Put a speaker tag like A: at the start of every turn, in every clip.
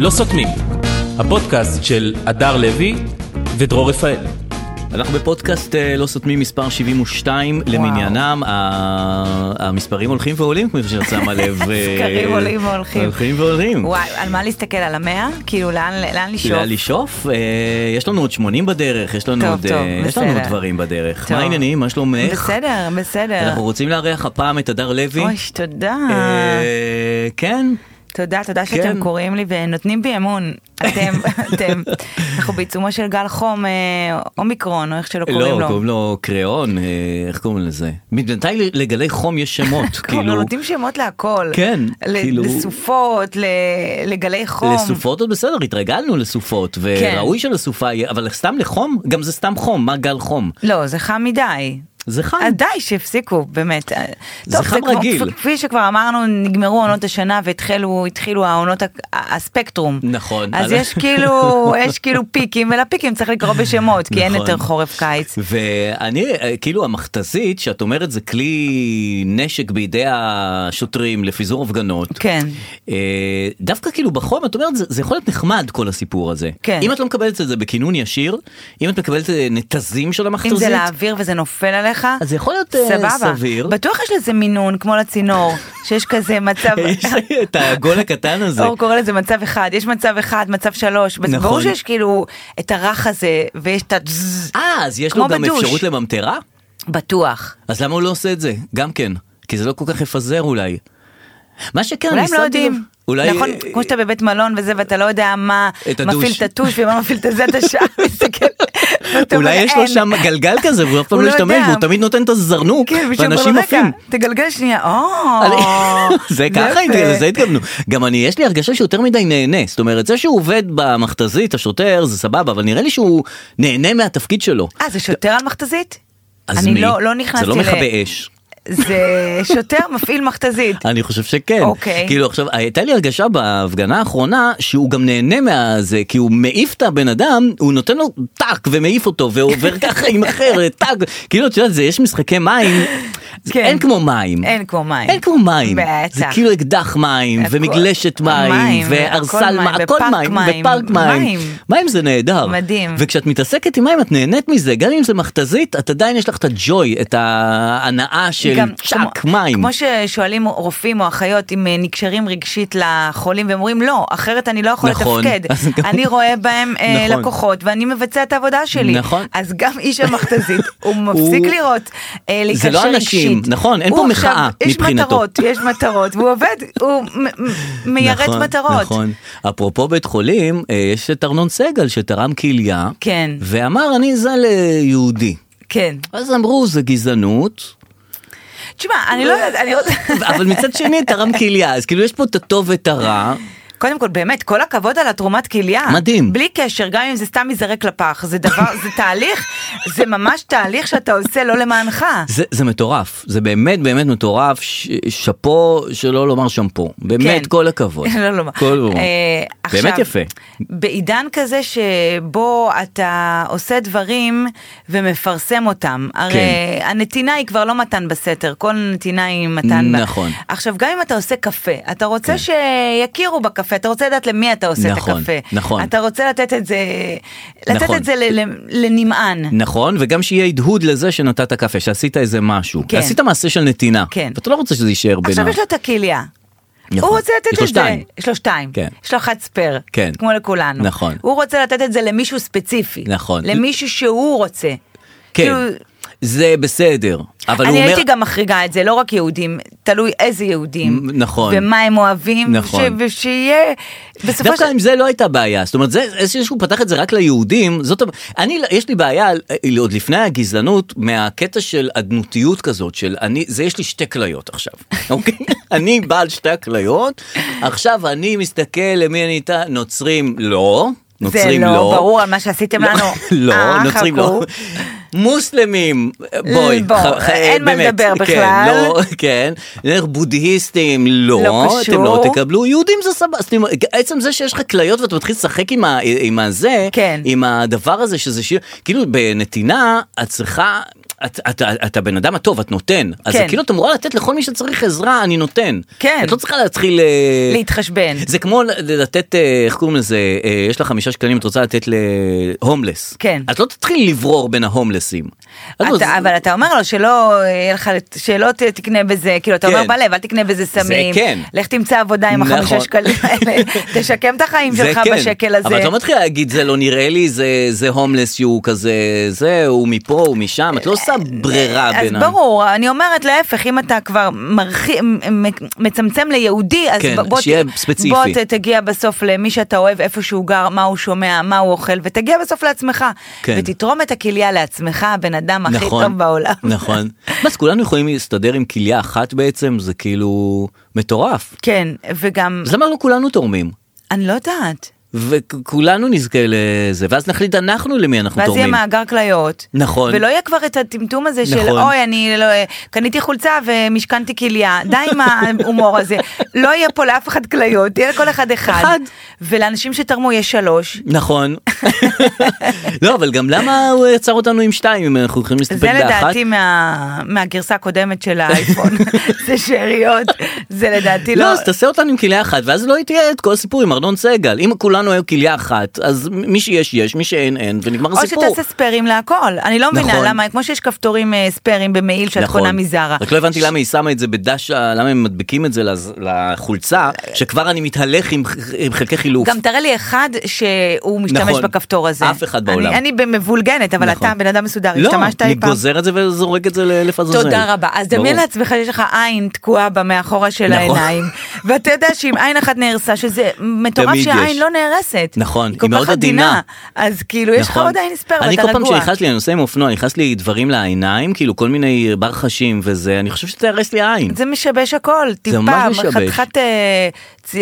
A: לא סותמים, הפודקאסט של הדר לוי ודרור רפאל.
B: אנחנו בפודקאסט אה, לא סותמים מספר 72 למניינם, ה- המספרים הולכים ועולים כמו ששמה לב. אה,
C: סקרים עולים והולכים.
B: הולכים ועולים.
C: וואי, על מה להסתכל? על המאה? כאילו, לאן, לאן לשאוף?
B: לאן לשאוף? אה, יש לנו עוד 80 בדרך, יש לנו
C: טוב,
B: עוד,
C: טוב,
B: אה, יש לנו עוד
C: בסדר.
B: דברים בדרך.
C: טוב.
B: מה העניינים? מה שלומך?
C: בסדר, בסדר.
B: אנחנו רוצים לארח הפעם את הדר לוי.
C: אוי, תודה.
B: אה, כן,
C: תודה, תודה
B: כן.
C: שאתם קוראים לי ונותנים בי אמון. אתם, אתם. אנחנו בעיצומו של גל חום, אה, אומיקרון, או איך שלא קוראים
B: לא,
C: לו.
B: קוראים לו קריאון, אה, איך קוראים לזה? מתי לגלי חום יש שמות,
C: כאילו,
B: כאילו,
C: נותנים שמות להכל.
B: כן,
C: ל-
B: כאילו-
C: לסופות, ל- לגלי חום. כן.
B: לסופות עוד בסדר, התרגלנו לסופות, וראוי שלסופה יהיה, אבל סתם לחום, גם זה סתם חום, מה גל חום?
C: לא, זה חם מדי.
B: זה חם.
C: אז אה, די שהפסיקו באמת. אה, טוב,
B: חם
C: כמו-
B: רגיל.
C: כפי שכבר אמרנו נגמרו עונות השנה והתחילו התחילו העונות ה- ה- הספקטרום.
B: נכון.
C: אז
B: אז-
C: יש כאילו יש כאילו פיקים ולפיקים צריך לקרוא בשמות כי אין
B: נכון.
C: יותר חורף קיץ.
B: ואני, אה, כאילו המכתזית, שאת אומרת זה כלי נשק בידי השוטרים לפיזור הפגנות.
C: כן.
B: אה, דווקא כאילו בחום את אומרת זה, זה יכול להיות נחמד כל הסיפור הזה.
C: כן.
B: אם את לא מקבלת את זה בכינון ישיר, אם את מקבלת אה, נתזים של
C: אם
B: המכתזית,
C: זה לאוויר וזה נופל עליך,
B: אז זה יכול להיות אה,
C: סבבה.
B: סביר.
C: בטוח יש לזה מינון כמו לצינור שיש כזה מצב.
B: יש לי את הגול הקטן הזה.
C: אור קורא לזה מצב אחד, יש מצב אחד, מצב שלוש,
B: נכון.
C: ברור שיש כאילו את הרך הזה ויש את ה...
B: אה, אז יש
C: כמו
B: לו גם
C: בדוש.
B: אפשרות לממטרה?
C: בטוח.
B: אז למה הוא לא עושה את זה? גם כן. כי זה לא כל כך יפזר אולי. מה שכן,
C: אולי
B: אני
C: הם לא
B: שמתי לב-
C: יודעים.
B: אולי... אה,
C: נכון, כמו שאתה בבית מלון וזה, ואתה לא יודע מה
B: את הדוש.
C: מפעיל את הטוש ומה מפעיל את הזה, אתה שם מסתכל. ואתה אומר,
B: אולי יש לו
C: "אין".
B: שם גלגל כזה והוא אף פעם
C: הוא
B: לא
C: לא
B: השתמש
C: יודע.
B: והוא תמיד נותן את הזרנוק
C: כן, ושם
B: ואנשים
C: ברגע,
B: עפים.
C: תגלגל שנייה, או.
B: זה ככה,
C: יפה.
B: התגל- לזה התגלנו. גם אני, יש לי הרגשה שיותר מדי נהנה. זאת אומרת, זה שהוא עובד במכתזית, השוטר, זה סבבה, אבל נראה לי שהוא נהנה מהתפקיד שלו.
C: אה, זה שוטר על מכתזית?
B: אז
C: אני
B: מי?
C: לא- לא נכנסתי
B: זה לא
C: ל-
B: מכבה אש.
C: זה שוטר מפעיל מכתזית.
B: אני חושב שכן.
C: אוקיי.
B: כאילו עכשיו, הייתה לי הרגשה בהפגנה האחרונה שהוא גם נהנה מהזה, כי הוא מעיף את הבן אדם, הוא נותן לו טאק ומעיף אותו, ועובר ככה עם אחר, טאק. כאילו, את יודעת, זה- יש משחקי מים, זה-
C: כן.
B: אין כמו מים.
C: אין כמו מים.
B: אין כמו מים.
C: בטח.
B: זה כאילו אקדח מים,
C: הכל-
B: ומגלשת מים,
C: מים,
B: וארסל
C: הכל
B: מים,
C: מים,
B: הכל
C: ופארק
B: מים,
C: מים,
B: ופארק מים.
C: מים.
B: מים זה נהדר.
C: מדהים.
B: וכשאת מתעסקת עם מים את נהנית מזה, גם אם זה מכתזית, את עדיין יש לך את הג'וי, את ההנאה של
C: גם
B: צ'אק
C: כמו-
B: מים.
C: כמו ששואלים רופאים או אחיות אם אה, נקשרים רגשית לחולים והם אומרים לא, אחרת אני לא יכול
B: נכון.
C: לתפקד.
B: אז גם-
C: אני רואה בהם אה,
B: נכון.
C: לקוחות ואני מבצע את העבודה שלי.
B: נכון.
C: אז גם איש המכתזית, הוא מפסיק לראות אה, להיקשר רגשית.
B: זה לא אנשים, נכון, אין
C: הוא
B: פה
C: עכשיו-
B: מחאה מבחינתו.
C: יש מטרות, יש מטרות, והוא עובד, הוא מ- מ- מיירט
B: נכון,
C: מטרות.
B: נכון. אפרופו בית חולים, אה, יש את ארנון סגל שתרם כליה.
C: כן.
B: ואמר, אני זל אה, יהודי.
C: כן.
B: אז אמרו, זה גזענות,
C: תשמע, אני לא יודעת, אני רוצה...
B: אבל מצד שני תרם כליה, אז כאילו יש פה את הטוב ואת הרע.
C: קודם כל באמת כל הכבוד על התרומת כליה.
B: מדהים.
C: בלי קשר גם אם זה סתם ייזרק לפח זה דבר זה תהליך זה ממש תהליך שאתה עושה לא למענך.
B: זה, זה מטורף, זה באמת באמת מטורף, ש- שאפו שלא לומר שמפו, באמת
C: כן.
B: כל הכבוד.
C: לא, לא, לא.
B: כל הכבוד.
C: אה, עכשיו,
B: באמת יפה.
C: בעידן כזה שבו אתה עושה דברים ומפרסם אותם, הרי
B: כן.
C: הנתינה היא כבר לא מתן בסתר, כל נתינה היא מתן. ב-
B: נכון. כן.
C: עכשיו, גם אם אתה עושה קפה, אתה רוצה שיכירו בקפה, אתה רוצה לדעת למי אתה עושה את
B: נכון,
C: הקפה.
B: נכון.
C: אתה רוצה לתת את זה, לתת
B: נכון.
C: את זה ל- ל- לנמען.
B: נכון, וגם שיהיה הדהוד לזה שנתת קפה, שעשית איזה משהו.
C: כן.
B: עשית מעשה של נתינה.
C: כן.
B: ואתה לא רוצה שזה יישאר בין
C: עכשיו יש לו את הכליה.
B: נכון.
C: הוא רוצה לתת
B: יש לו
C: את זה,
B: שתיים.
C: יש לו שתיים,
B: כן.
C: יש לו אחת ספייר,
B: כן.
C: כמו לכולנו,
B: נכון.
C: הוא רוצה לתת את זה למישהו ספציפי,
B: נכון.
C: למישהו שהוא רוצה,
B: כן,
C: כאילו-
B: זה בסדר. אבל הוא
C: אני
B: אומר...
C: הייתי גם מחריגה את זה, לא רק יהודים, תלוי איזה יהודים,
B: מ- נכון.
C: ומה הם אוהבים,
B: נכון.
C: ש- ושיהיה, בסופו
B: דווקא
C: של,
B: עם זה לא הייתה בעיה, זאת אומרת, זה איזה שהוא פתח את זה רק ליהודים, זאת, הב- אני, יש לי בעיה, אה, עוד לפני הגזענות, מהקטע של אדנותיות כזאת, של אני, זה יש לי שתי כליות עכשיו, אוקיי? אני בעל שתי הכליות, עכשיו אני מסתכל למי אני איתה, נוצרים לא, נוצרים
C: זה
B: לא,
C: לא, ברור על מה שעשיתם לנו,
B: לא,
C: אה,
B: נוצרים לא.
C: חכו.
B: מוסלמים, בואי,
C: בוא,
B: ח- ח-
C: אין מה
B: באמת,
C: לדבר
B: כן,
C: בכלל.
B: לא, כן, נניח בודהיסטים, לא,
C: לא
B: אתם לא
C: קשור.
B: תקבלו, יהודים זה סבבה, זאת אומרת, עצם זה שיש לך כליות ואתה מתחיל לשחק עם ה- עם הזה,
C: כן.
B: עם הדבר הזה שזה שיר, כאילו בנתינה את צריכה... את, את, את, את הבן אדם הטוב, את נותן. אז
C: כן.
B: זה כאילו את אמורה לתת לכל מי שצריך עזרה, אני נותן.
C: כן.
B: את לא צריכה להתחיל... אה,
C: להתחשבן.
B: זה כמו ל- לתת, אה, איך קוראים לזה, אה, יש לך חמישה שקלים, את רוצה לתת להומלס.
C: כן.
B: את לא תתחילי לברור בין ההומלסים. את לא-
C: אתה, אבל אתה אומר לו שלא אה, יהיה לך, שלא ת- תקנה בזה, כאילו אתה
B: כן.
C: אומר בלב, אל תקנה בזה סמים,
B: כן.
C: לך תמצא עבודה עם החמישה
B: נכון.
C: שקלים האלה, תשקם את החיים
B: זה
C: שלך
B: כן.
C: בשקל הזה.
B: אבל את לא מתחילה להגיד זה לא נראה לי, זה, זה הומלס שהוא כזה, זה, הוא מפה, הוא משם, את לא עושה ברירה בין
C: אה, אז ברור, אני אומרת להפך, אם אתה כבר מרחיב, מ- מ- מצמצם ליהודי, אז
B: כן,
C: ב- בוא, ת-
B: שיהיה ספציפי.
C: בוא ת- תגיע בסוף למי שאתה אוהב, איפה שהוא גר, מה הוא שומע, מה הוא אוכל, ותגיע בסוף לעצמך.
B: כן.
C: ותתרום את הכליה לעצמך, הבן אדם הכי
B: נכון,
C: טוב בעולם.
B: נכון. אז כולנו יכולים להסתדר עם כליה אחת בעצם, זה כאילו מטורף.
C: כן, וגם,
B: אז למה לא כולנו תורמים?
C: אני לא יודעת.
B: וכולנו נזכה לזה, ואז נחליט אנחנו למי אנחנו
C: ואז יהיה
B: תורמים.
C: מאגר כליות.
B: נכון.
C: ולא יהיה כבר את הטמטום הזה של
B: נכון.
C: אוי אני לא, קניתי חולצה ומשכנתי כליה, די עם ההומור הזה. לא יהיה פה לאף אחד כליות, יהיה לכל אחד אחד.
B: אחד.
C: ולאנשים שתרמו יש שלוש.
B: נכון. לא, אבל גם למה הוא יצר אותנו עם שתיים אם אנחנו יכולים להסתפק
C: זה
B: באחת?
C: לדעתי מה, מהגרסה הקודמת של האייפון, זה שאריות, זה לדעתי
B: לא,
C: לא.
B: אז תעשה אותנו עם כליה אחת, ואז לא תהיה את כל הסיפור עם ארנון סגל. אם כולנו היו כליה אחת, אז מי שיש יש, מי שאין אין, ונגמר
C: או
B: הסיפור.
C: שתעשה ספיירים להכל, אני לא מבינה
B: נכון.
C: למה, כמו שיש כפתורים אה, ספיירים במעיל שאת
B: נכון.
C: קונה מזרה.
B: רק לא הבנתי למה היא שמה את זה בדשה, למה הם מדביקים את זה לז- לחולצה, שכבר אני מתהלך עם ח- עם חלקי חילוף.
C: גם תראה לי אחד שהוא משתמש
B: נכון.
C: בכפתור הזה.
B: אף אחד בעולם.
C: אני, אני במבולגנת, אבל
B: נכון.
C: אתה בן אדם מסודר,
B: לא,
C: השתמשת
B: אני
C: אי פעם.
B: גוזר את זה וזורק את זה לאלף עזאזל.
C: תודה רבה. אז דמיין
B: ברור.
C: לעצמך שיש לך עין תקועה בה מאחורה של
B: נכון.
C: העיניים, ואתה יודע שאם עין אחת נהרסה, שזה מטורף
B: תמיד
C: שהעין
B: יש.
C: לא נהרסת.
B: נכון,
C: כל
B: היא מאוד
C: כך עדינה.
B: עדינה.
C: אז כאילו יש לך
B: נכון.
C: עוד עין ספייר ואתה
B: אני
C: רגוע.
B: כל פעם שנכנס לי, אני נוסע עם אופנוע, נכנס לי דברים לעיניים, כאילו כל מיני ברחשים וזה, אני חושב שתיהרס לי העין.
C: זה משבש הכל, טיפה,
B: ממש משבש.
C: חתיכת אה, צ-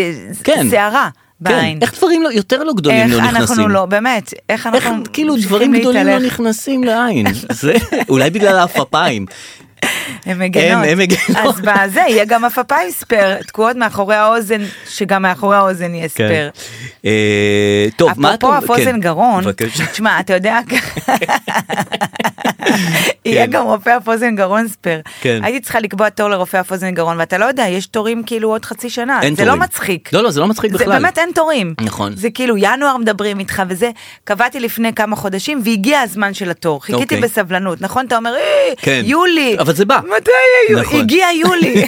B: כן.
C: שערה בעין.
B: כן, איך דברים לא- יותר לא גדולים
C: איך
B: לא נכנסים?
C: אנחנו לא, באמת, איך
B: איך
C: אנחנו
B: כאילו
C: ממשיכים
B: דברים גדולים לא
C: להתהלך?
B: נכנסים לעין? זה אולי בגלל העפפיים.
C: הן מגנות.
B: הן- הן מגנות.
C: אז בזה יהיה גם אפפיים ספייר, תקועות מאחורי האוזן, שגם מאחורי האוזן יהיה
B: כן.
C: ספייר.
B: אה, טוב, מה אתה...
C: כן. אפרופו אף אוזן
B: כן,
C: גרון,
B: בבקשה.
C: תשמע, אתה יודע, יהיה גם רופא אף אוזן גרון ספייר.
B: כן.
C: הייתי צריכה לקבוע תור לרופא אף אוזן גרון, ואתה לא יודע, יש תורים כאילו עוד חצי שנה,
B: אין
C: זה לא
B: תורים.
C: מצחיק.
B: לא, לא, זה לא מצחיק
C: זה
B: בכלל.
C: באמת אין תורים.
B: נכון.
C: זה כאילו ינואר מדברים איתך וזה, קבעתי לפני כמה חודשים והגיע הזמן של התור, חיכיתי
B: אוקיי.
C: בסבלנות, נכון? אתה אומר, "אה,
B: כן.
C: יולי.
B: אבל זה בא.
C: מתי יהיה יולי?
B: נכון.
C: הגיע יולי.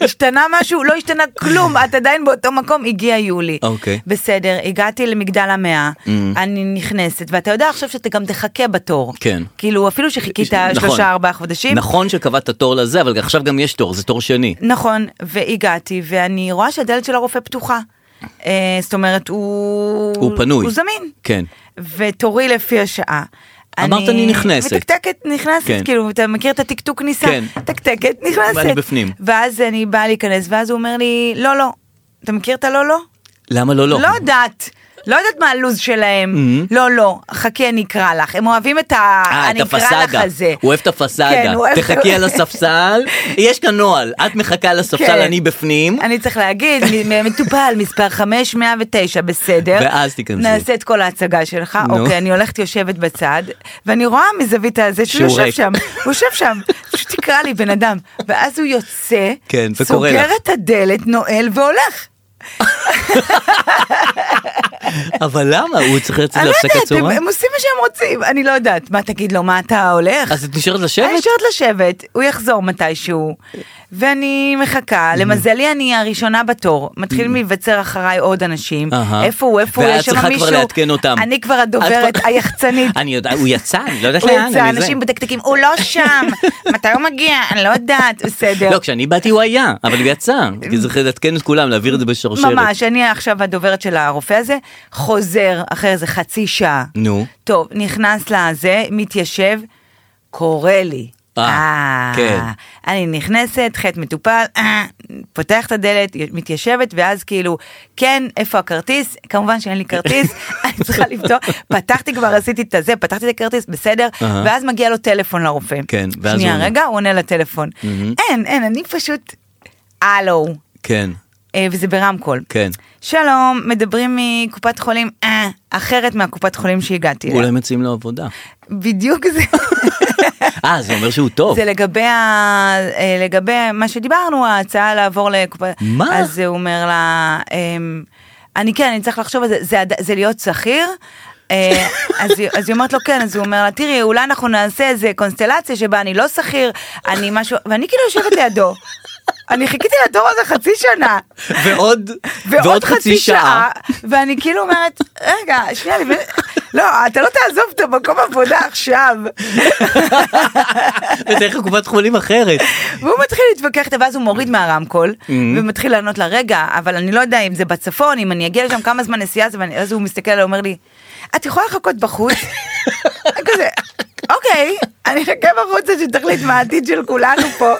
C: השתנה משהו? לא השתנה כלום, את עדיין באותו מקום, הגיע יולי.
B: אוקיי. Mm.
C: בסדר, הגעתי למגדל המאה, אני נכנסת, ואתה יודע עכשיו שאתה גם תחכה בתור.
B: כן.
C: כאילו, אפילו שחיכית
B: נכון.
C: שלושה ארבעה חודשים,
B: נכון שקבעת תור לזה, אבל עכשיו גם יש תור, זה תור שני.
C: נכון, והגעתי, ואני רואה שהדלת של הרופא פתוחה. אה, זאת אומרת, הוא...
B: הוא פנוי.
C: הוא זמין.
B: כן.
C: ותורי לפי השעה.
B: אמרת, "אני נכנסת."
C: מתקתקת, נכנסת,
B: כן.
C: כאילו, אתה מכיר את הטקטוק כניסה?
B: כן.
C: תקתקת, נכנסת.
B: ואני בפנים.
C: ואז אני באה להיכנס, ואז הוא אומר לי, לא, לא. אתה מכיר את הלא, לא?
B: למה לא לא?
C: לא יודעת. לא יודעת מה הלו"ז שלהם,
B: Mhm.
C: לא לא, חכי אני אקרא לך, הם אוהבים את ה...
B: אה, את
C: אני אקרא לך
B: הפסאדה.
C: הזה.
B: הוא אוהב את הפסאדה.
C: כן, הוא אוהב-
B: תחכי על הספסל, יש כאן נוהל, את מחכה על הספסל,
C: כן.
B: אני בפנים.
C: אני צריך להגיד, מ- מטופל מספר 5109, בסדר.
B: ואז תיכנסי.
C: נעשה את כל ההצגה שלך,
B: נו.
C: אוקיי, אני הולכת יושבת בצד, ואני רואה מזווית הזה שהוא
B: שהוא
C: יושב
B: ריק.
C: שם, הוא יושב שם, פשוט תקרא לי בן אדם, ואז הוא יוצא,
B: כן, וקורא
C: סוגר
B: לך.
C: את הדלת, נועל והולך.
B: אבל למה? הוא צריך לצאת
C: אני לא
B: להפסקת
C: יודעת, הם-
B: צהריים?
C: הם עושים מה שהם רוצים, אני לא יודעת, מה תגיד לו, מה אתה הולך?
B: אז את נשארת
C: אני
B: לשבת?
C: נשארת לשבת, הוא יחזור מתישהו, ואני
B: Mm-hmm.
C: מחכה, למזלי אני הראשונה בתור, מתחילים להיווצר אחריי עוד אנשים,
B: אהה.
C: אה, איפה הוא, איפה הוא,
B: ואת
C: יש שם מישהו,
B: צריכה כבר לעדכן אותם.
C: אני כבר
B: את
C: הדוברת
B: כבר-
C: היחצנית.
B: אני יודע, הוא יצא, אני לא יודעת
C: הוא
B: לאן, אני זה.
C: יצא, אנשים מדקדקים, הוא לא שם, מתי הוא מגיע, אני לא יודעת, בסדר.
B: לא, כשאני באתי הוא היה, אבל הוא יצא. כי צריך לעדכן את כולם, להעביר את זה בשרשרת.
C: ממש, אני עכשיו הדוברת של הרופא הזה, חוזר אחרי איזה חצי שעה.
B: נו.
C: טוב, נכנס לזה, מתיישב, קורא לי.
B: אה, כן.
C: אני נכנסת, חטא מטופל, אה, פותח את הדלת, מתיישבת, ואז כאילו, כן, איפה הכרטיס? כמובן שאין לי כרטיס, אני צריכה לבדוק. פתחתי כבר, עשיתי את הזה, פתחתי את הכרטיס, בסדר,
B: אהה.
C: ואז מגיע לו טלפון לרופא.
B: כן, ואז הוא
C: שנייה,
B: עונה.
C: רגע, הוא עונה לטלפון. אין, אין, אני פשוט... הלו.
B: כן,
C: אה, וזה ברמקול.
B: כן.
C: שלום, מדברים מקופת חולים אה, אחרת מהקופת חולים שהגעתי אליה.
B: אולי מציעים לו עבודה.
C: בדיוק זה.
B: אה, זה אומר שהוא טוב.
C: זה לגבי, ה... אה, לגבי מה שדיברנו, ההצעה לעבור לקופה.
B: מה?
C: אז הוא אומר לה, אמ, אני כן, אני צריך לחשוב על זה, זה, עד- זה להיות שכיר? אה, אז, היא- אז היא אומרת לו כן, אז הוא אומר לה, תראי, אולי אנחנו נעשה איזה קונסטלציה שבה אני לא שכיר, אני משהו, ואני כאילו יושבת לידו. אני חיכיתי לתור הזה חצי שנה.
B: ועוד, ועוד חצי שעה.
C: ואני כאילו אומרת, רגע, שנייה, לפני- לא, אתה לא תעזוב את המקום עבודה עכשיו.
B: ותלך לקופת חולים אחרת.
C: והוא מתחיל להתווכח איתה, ואז הוא
B: Mm.
C: מוריד מהרמקול, ומתחיל לענות לה, רגע, אבל אני לא יודע אם זה בצפון, אם אני אגיע לשם, כמה זמן נסיעה זה, ואז הוא מסתכל עליי, אומר לי, את יכולה לחכות בחוץ? אני כזה, אוקיי, אני אחכה בחוץ עד שתחליט מה העתיד של כולנו פה.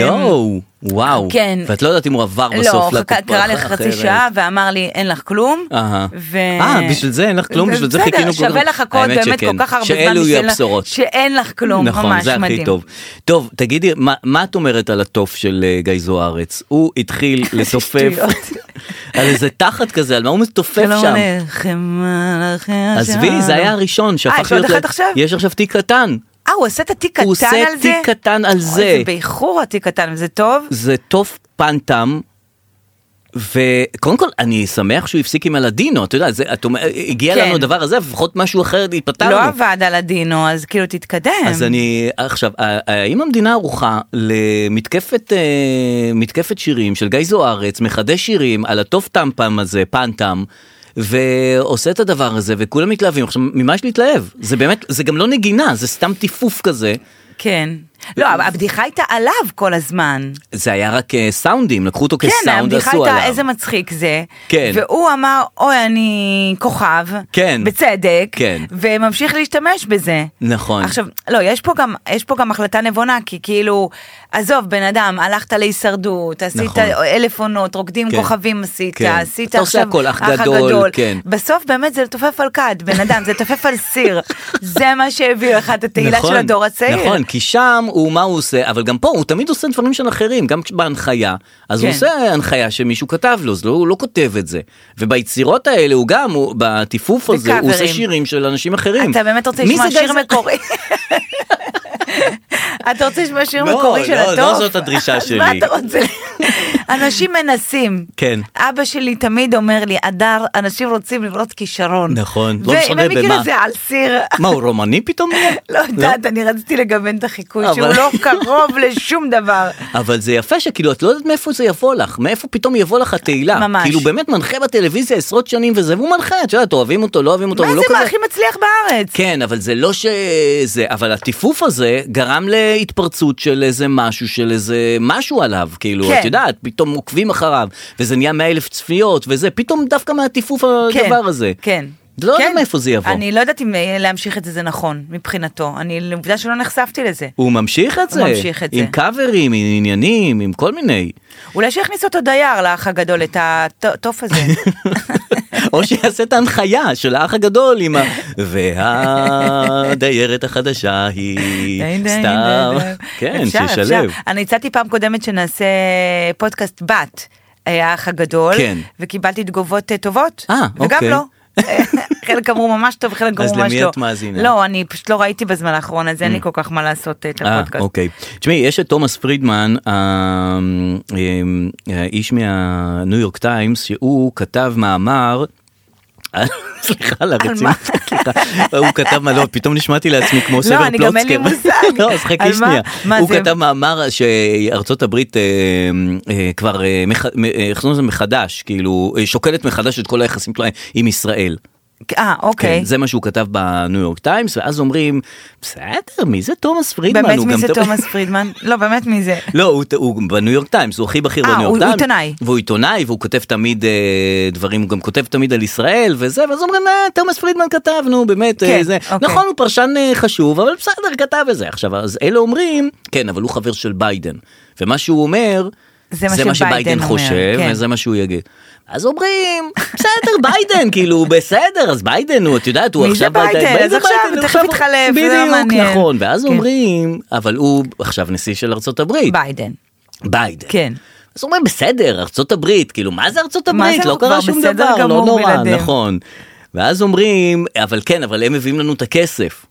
B: יואו, וואו.
C: כן.
B: ואת לא יודעת אם הוא עבר
C: לא,
B: בסוף
C: חכה- קרא לי
B: אחרת.
C: חצי שעה ואמר לי אין לך כלום.
B: אהה.
C: ו-
B: אה, בשביל זה אין לך כלום? בשביל זה
C: בסדר,
B: חיכינו כל
C: שווה
B: כך-
C: לחכות
B: האמת
C: באמת כל
B: שכן.
C: כך הרבה זמן.
B: שאלו יהיו
C: בשביל-
B: הבשורות.
C: שאין לך כלום, לא, ממש מדהים.
B: נכון, זה הכי טוב. טוב, תגידי, מה- מה את אומרת על התוף של אה, גיא זוארץ? הוא התחיל לתופף
C: שטויות. לא
B: על איזה תחת כזה, על מה הוא מתופף
C: שלום
B: שם?
C: עליכם, עליכם,
B: עזבי, זה היה הראשון
C: אה,
B: שהפך
C: יש עוד
B: להיות...
C: אחד
B: ל-
C: עכשיו?
B: יש עכשיו תיק קטן.
C: אה, הוא עושה את התיק קטן על
B: הוא
C: זה?
B: עושה תיק קטן על
C: אוי,
B: זה.
C: זה באיחור התיק קטן, זה טוב?
B: זה טוף פנטם. וקודם כל אני שמח שהוא הפסיק עם הלדינו, אתה יודע, זה, את אומר, הגיע
C: כן.
B: לנו הדבר הזה, לפחות משהו אחר ייפתר
C: לא
B: לנו.
C: עבד על הדינו, אז כאילו תתקדם.
B: אז אני, עכשיו, ה- האם המדינה ערוכה למתקפת אה, מתקפת שירים של גיא זוארץ, מחדש שירים על הטוב טמפם הזה, פנטם, ועושה את הדבר הזה, וכולם מתלהבים. עכשיו, ממה יש להתלהב? זה באמת, זה גם לא נגינה, זה סתם טיפוף כזה.
C: כן. לא, אבל הבדיחה הייתה עליו כל הזמן.
B: זה היה רק אה, סאונדים, לקחו אותו
C: כן,
B: כסאונד,
C: הבדיחה
B: עשו
C: הייתה
B: עליו.
C: איזה מצחיק זה.
B: כן.
C: והוא אמר, אוי, אני כוכב.
B: כן.
C: בצדק.
B: כן.
C: וממשיך להשתמש בזה.
B: נכון.
C: עכשיו, לא, יש פה גם, יש פה גם החלטה נבונה, כי כאילו, עזוב, בן אדם, הלכת להישרדות, עשית
B: נכון.
C: אלף עונות, רוקדים
B: כן.
C: כוכבים עשית,
B: כן.
C: עשית
B: אתה עושה
C: עכשיו
B: הכל, אח גדול, כן.
C: בסוף באמת זה לתופף על כד, בן אדם, זה לתופף על סיר. זה מה שהביא לך את התהילה של הדור הצעיר.
B: נכון, כי שם הוא, מה הוא עושה, אבל גם פה הוא תמיד עושה דברים של אחרים, גם כש- בהנחיה, אז
C: כן.
B: הוא עושה הנחיה שמישהו כתב לו, אז לא, הוא לא כותב את זה. וביצירות האלה הוא גם, הוא, בטיפוף
C: זה
B: הזה, הוא עושה
C: קאברים.
B: שירים של אנשים אחרים.
C: אתה באמת רוצה
B: מי
C: לשמוע
B: זה גיא
C: שיר
B: זוארץ?
C: מקורי? אתה רוצה לשמוע שיר
B: לא,
C: מקורי של
B: לא,
C: הטוב?
B: לא זאת הדרישה
C: אז מה
B: שלי.
C: אתה רוצה? אנשים מנסים.
B: כן.
C: אבא שלי תמיד אומר לי, אדר, אנשים רוצים לבנות כישרון.
B: נכון, לא
C: ואם
B: משנה
C: הם
B: במה.
C: מכירים זה על סיר.
B: מה, הוא רומני פתאום? נהיה?
C: לא יודעת, אני רציתי לגוון את החיקוי,
B: אבל-
C: שהוא לא קרוב לשום דבר.
B: אבל זה יפה שכאילו את לא יודעת מאיפה זה יבוא לך, מאיפה פתאום יבוא לך התהילה.
C: ממש.
B: כאילו באמת מנחה בטלוויזיה עשרות שנים וזה, והוא מנחה, את יודעת, אוהבים אותו, לא אוהבים אותו,
C: מה
B: הוא
C: זה
B: לא
C: מה
B: כזה...
C: הכי מצליח בארץ?
B: כן, אבל זה לא שזה, אבל הטיפוף הזה גרם להתפרצות של איזה משהו, של איזה משהו עליו, כאילו,
C: כן.
B: את יודעת, פתאום עוקבים אחריו, וזה נהיה 100 אלף צפיות, וזה, פתאום דווקא מהטיפוף
C: כן,
B: הדבר הזה.
C: כן.
B: לא יודע
C: כן.
B: מאיפה זה יבוא.
C: אני לא יודעת אם אה, להמשיך את זה זה נכון מבחינתו. אני, עובדה שלא נחשפתי לזה.
B: הוא ממשיך את
C: הוא
B: זה,
C: ממשיך את
B: עם
C: זה.
B: קאברים, עם עניינים, עם כל מיני.
C: אולי שיכניס אותו דייר לאח הגדול, את הטוף הזה.
B: או שיעשה את ההנחיה של האח הגדול עם ה... והדיירת החדשה היא
C: די, די,
B: סתם,
C: די, די.
B: כן,
C: אפשר,
B: שישלב.
C: אפשר. אני הצעתי פעם קודמת שנעשה פודקאסט בת, אה, האח הגדול,
B: כן.
C: וקיבלתי תגובות אה, טובות,
B: אה,
C: וגם
B: אוקיי.
C: לא. אה, חלק אמרו ממש טוב, חלק אמרו
B: אז
C: ממש לא.
B: למי את מאזינה? Mm.
C: לא, אני פשוט לא ראיתי בזמן האחרון, אז אין לי כל כך מה לעשות אה, את
B: אה,
C: הפודקאסט.
B: אוקיי. תשמעי, יש את תומאס פרידמן, ה- אמ, האיש מהניו יורק טיימס, שהוא כתב מאמר. על- סליחה על הרצינות, סליחה. הוא כתב מה לא, פתאום נשמעתי לעצמי כמו סבר פלוצקר.
C: לא, אני גם אין לי מושג.
B: לא, אז
C: על
B: חכי
C: מה?
B: שנייה.
C: מה
B: הוא
C: זה?
B: כתב מאמר שארצות הברית אה, אה, כבר, אה, מח- מ- אה, איך קוראים לזה מחדש, כאילו, אה, שוקלת מחדש את כל היחסים שלה עם ישראל.
C: אה, אוקיי.
B: כן, זה מה שהוא כתב בניו יורק טיימס, ואז אומרים, בסדר, מי זה תומאס פרידמן?
C: באמת
B: הוא
C: מי
B: גם
C: זה
B: טוב."
C: תומאס פרידמן? לא, באמת מי זה?
B: לא, הוא, הוא בניו יורק טיימס, הוא הכי בכיר
C: אה,
B: בניו יורק
C: הוא- הוא
B: טיימס.
C: עיתונאי.
B: והוא עיתונאי, והוא כותב תמיד אה, דברים, הוא גם כותב תמיד על ישראל וזה, ואז אומרים, אה, תומאס פרידמן כתב, נו, באמת,
C: כן,
B: אה, זה.
C: אוקיי.
B: נכון, הוא פרשן אה, חשוב, אבל בסדר, כתב את זה. עכשיו, אז אלה אומרים, כן, אבל הוא חבר של ביידן. ומה שהוא אומר,
C: זה מה שביידן
B: שביידן
C: אומר,
B: חושב,
C: כן.
B: וזה מה שהוא יגיד. אז אומרים, בסדר, ביידן, כאילו, בסדר, אז ביידן הוא, את יודעת, הוא
C: מי זה
B: עכשיו...
C: ביידן? אז
B: איזה
C: עכשיו,
B: ביידן?
C: תכף יתחלף, זה לא מעניין.
B: בדיוק, נכון, ואז
C: כן.
B: אומרים, אבל הוא עכשיו נשיא של ארצות הברית.
C: ביידן.
B: ביידן.
C: כן.
B: אז אומרים בסדר ארצות הברית כאילו מה זה ארצות
C: מה
B: הברית
C: זה,
B: לא
C: אנחנו כבר
B: קרה שום
C: בסדר
B: דבר לא
C: גמור
B: נורא
C: בלעדיהם.
B: נכון. ואז אומרים אבל כן אבל הם מביאים לנו את הכסף.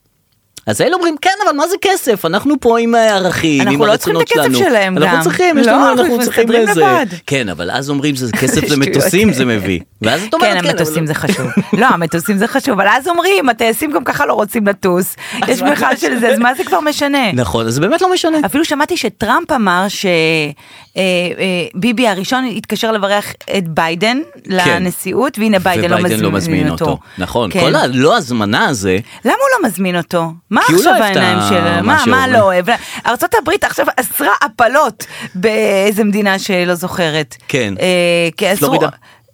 B: אז אלה אומרים, כן, אבל מה זה כסף? אנחנו פה עם אה, ערכים,
C: אנחנו
B: עם
C: לא צריכים
B: הרצונות
C: את
B: שלנו.
C: הכסף שלהם
B: אנחנו
C: גם.
B: צריכים, יש
C: לא,
B: לנו,
C: אנחנו
B: אנחנו צריכים
C: מסתדרים
B: לזה.
C: לבד.
B: כן, אבל אז אומרים שזה כסף
C: שטויות,
B: למטוסים
C: כן.
B: זה מביא. ואז את אומרת,
C: כן, המטוסים
B: אבל-
C: זה חשוב. לא, המטוסים זה חשוב, אבל אז אומרים, הטייסים גם ככה לא רוצים לטוס. יש
B: מה
C: בכלל של זה, אז מה זה כבר משנה?
B: נכון, אז זה באמת לא משנה.
C: אפילו שמעתי שטראמפ אמר שביבי הראשון התקשר לברך את ביידן
B: כן.
C: לנשיאות, והנה ביידן לא מזמין אותו.
B: נכון,
C: כן.
B: כל הלא הזמנה הזה,
C: למה הוא לא מזמין אותו? מה
B: כי הוא לא
C: עכשיו
B: אוהב את
C: העיניים
B: ה-
C: של...
B: מה
C: מה,
B: שהוא
C: מה
B: אומר.
C: לא אוהב? ארצות הברית עכשיו אסרה הפלות באיזה מדינה שלא זוכרת.
B: כן.
C: אה, כי אסרו...
B: פלורידה.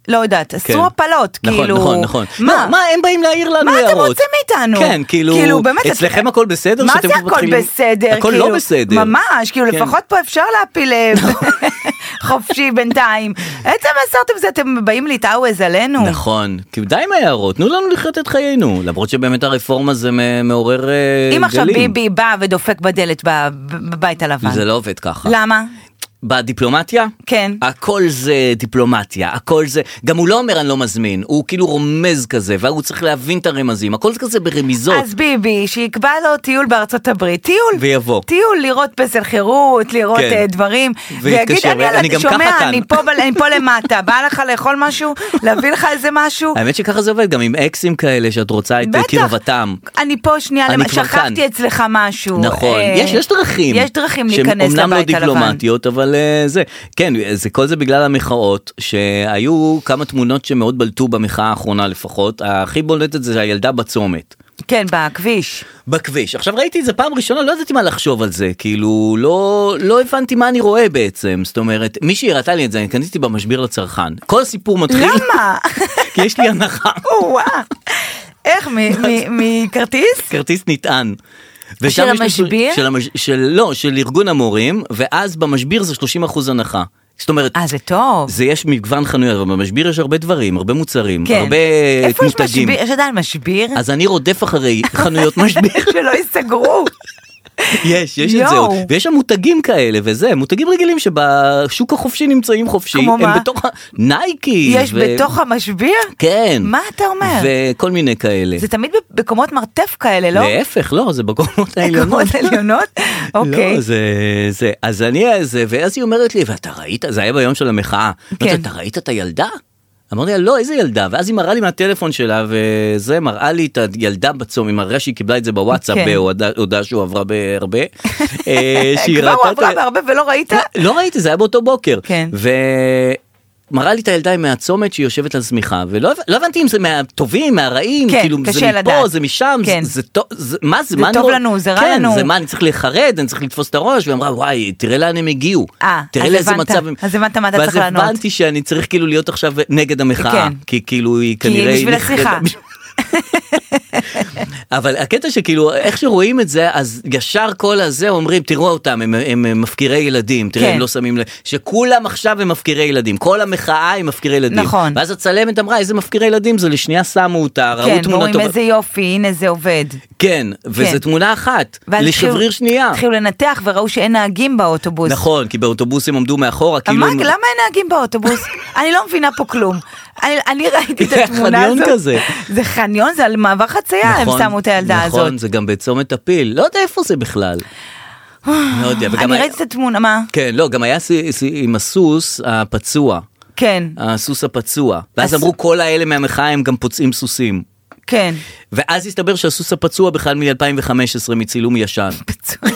C: לא יודעת,
B: כן.
C: אסרו הפלות,
B: נכון,
C: כאילו...
B: נכון, נכון.
C: מה?
B: לא, מה הם באים להעיר לנו
C: מה אתם
B: הערות?
C: רוצים מאיתנו?
B: כן, כאילו,
C: כאילו, באמת,
B: אצלכם הכל בסדר?
C: מה
B: שאתם
C: זה הכל
B: מתחילים-
C: בסדר?
B: הכל
C: כאילו,
B: לא בסדר.
C: ממש, כאילו
B: כן.
C: לפחות פה אפשר להפיל אה, חופשי בינתיים. עצם אסרתם זה, אתם באים להתאוויז עלינו.
B: נכון, כי די עם ההערות, תנו לנו לחיות את חיינו, למרות שבאמת הרפורמה זה מ- מעורר אה, גלים.
C: אם עכשיו ביבי בא ודופק בדלת ב- בבית הלבן.
B: זה לא עובד ככה.
C: למה?
B: בדיפלומטיה?
C: כן.
B: הכל זה דיפלומטיה, הכל זה, גם הוא לא אומר אני לא מזמין, הוא כאילו רומז כזה, והוא צריך להבין את הרמזים, הכל זה כזה ברמיזות.
C: אז ביבי, שיקבע לו טיול בארצות הברית, טיול,
B: ויבוא.
C: טיול לראות פסל חירות, לראות
B: כן.
C: כן. דברים, ויגיד,
B: ויתקשר,
C: אני, על-
B: אני גם ככה כאן."
C: שומע, אני פה, ב- אני פה למטה, בא לך לאכול משהו, להביא לך איזה משהו,
B: האמת שככה זה עובד, גם עם אקסים כאלה שאת רוצה את אה,
C: בטח.
B: קרבתם.
C: אני פה שנייה,
B: אני
C: למ-
B: כבר
C: שכחתי
B: כאן.
C: אצלך משהו.
B: נכון,
C: אה,
B: יש, יש דרכים.
C: יש דרכים
B: שהן
C: להיכנס
B: אומנם
C: לבית
B: לא
C: הלבן.
B: דיפלומטיות, אבל אה, זה, כן, זה כל זה בגלל המחאות, שהיו כמה תמונות שמאוד בלטו במחאה האחרונה לפחות, הכי בולטת זה הילדה בצומת.
C: כן, בכביש.
B: בכביש. עכשיו ראיתי את זה פעם ראשונה, לא ידעתי מה לחשוב על זה, כאילו לא, לא הבנתי מה אני רואה בעצם, זאת אומרת, מישהי הראתה לי את זה, אני קניתי במשביר לצרכן. כל הסיפור מתחיל,
C: למה?
B: כי יש לי הנחה,
C: וואו. איך, מ- מ- מכרטיס?
B: כרטיס נטען. ושם
C: אה, של
B: יש לי-
C: המשביר?
B: של, המש... של לא, של ארגון המורים, ואז במשביר זה 30% הנחה. זאת אומרת,
C: אה, זה טוב.
B: זה יש מגוון חנויות, אבל במשביר יש הרבה דברים, הרבה מוצרים,
C: כן.
B: הרבה אה,
C: איפה יש
B: מותגים.
C: משביר? יש עדיין משביר?
B: אז אני רודף אחרי חנויות משביר.
C: שלא ייסגרו.
B: יש, יש את זה
C: יואו.
B: עוד. ויש שם מותגים כאלה וזה, מותגים רגילים שבשוק החופשי נמצאים חופשי.
C: כמו
B: הם
C: מה?
B: בתוך ה... נייקי.
C: יש
B: ו-
C: בתוך המשביר?
B: כן.
C: מה אתה אומר?
B: וכל מיני כאלה.
C: זה תמיד בקומות מרתף כאלה, לא?
B: להפך, לא, זה בקומות העליונות.
C: בקומות עליונות? אוקיי.
B: לא, זה, זה, אז אני, זה, ואז היא אומרת לי, ואתה ראית, זה היה ביום של המחאה, אמרתי,
C: כן.
B: אתה ראית את הילדה? אמרתי לה, לא, איזה ילדה? ואז היא מראה לי מהטלפון שלה, וזה, מראה לי את הילדה בצום, היא מראה שהיא קיבלה את זה בוואטסאפ,
C: כן.
B: בהודעה הודעה שהוא עברה בהרבה. אה, שהיא
C: כבר
B: ראתה
C: הוא
B: את
C: עברה
B: ה-
C: בהרבה ולא ראית?
B: לא ראיתי, זה היה באותו בוקר.
C: כן.
B: ומראה לי את הילדה עם מהצומת שהיא יושבת על שמיכה, ולא הב- לא הבנתי אם זה מהטובים, מהרעים,
C: כן,
B: כאילו זה
C: קשה
B: מפה,
C: לדעת.
B: זה משם,
C: כן.
B: זה, זה טוב, זה, מה זה,
C: זה
B: מה אני
C: טוב
B: רוא-
C: לנו, זה רע
B: כן,
C: לנו.
B: זה מה, אני צריך להיחרד, אני צריך לתפוס את הראש, והיא אמרה, וואי, תראה לאן הם הגיעו.
C: אה,
B: תראה
C: אז
B: לאיזה
C: הבנת.
B: מצב הם...
C: אז הבנת מה אתה צריך לענות.
B: ואז הבנתי שאני צריך כאילו להיות עכשיו נגד המחאה,
C: כן.
B: כי כאילו היא
C: כי
B: כנראה...
C: בשביל
B: נכחדה-
C: השיחה.
B: אבל הקטע שכאילו איך שרואים את זה אז ישר כל הזה אומרים תראו אותם הם, הם, הם מפקירי ילדים תראה
C: כן.
B: הם לא שמים לב שכולם עכשיו הם מפקירי ילדים כל המחאה היא מפקירי ילדים
C: נכון.
B: ואז הצלמת אמרה איזה מפקירי ילדים זה לשנייה שמו אותה ראו
C: כן,
B: תמונה
C: ואומרים
B: טובה
C: איזה יופי, הנה זה עובד.
B: כן וזה
C: כן.
B: תמונה אחת
C: ואז
B: לשבריר
C: התחילו-
B: שנייה
C: התחילו לנתח וראו שאין נהגים באוטובוס.
B: נכון כי באוטובוסים עמדו מאחורה כאילו
C: אמר,
B: הם-
C: למה אין נהגים באוטובוס? אני לא מבינה פה כלום. אני, אני ראיתי את
B: זה
C: התמונה
B: חניון
C: הזאת.
B: כזה.
C: זה חניון, זה על מעבר חצייה,
B: נכון,
C: הם שמו את הילדה
B: נכון,
C: הזאת.
B: זה גם בצומת הפיל לא יודע איפה זה בכלל. לא יודע, וגם
C: אני
B: היה-
C: ראיתי את התמונה, מה?
B: כן, לא, גם היה ס- ס- עם הסוס הפצוע,
C: כן,
B: הסוס הפצוע. ואז
C: הס-
B: אמרו כל האלה מהמחאה הם גם פוצעים סוסים.
C: כן.
B: ואז הסתבר שהסוס הפצוע בכלל מ-2015 מצילום ישן.
C: פצוע.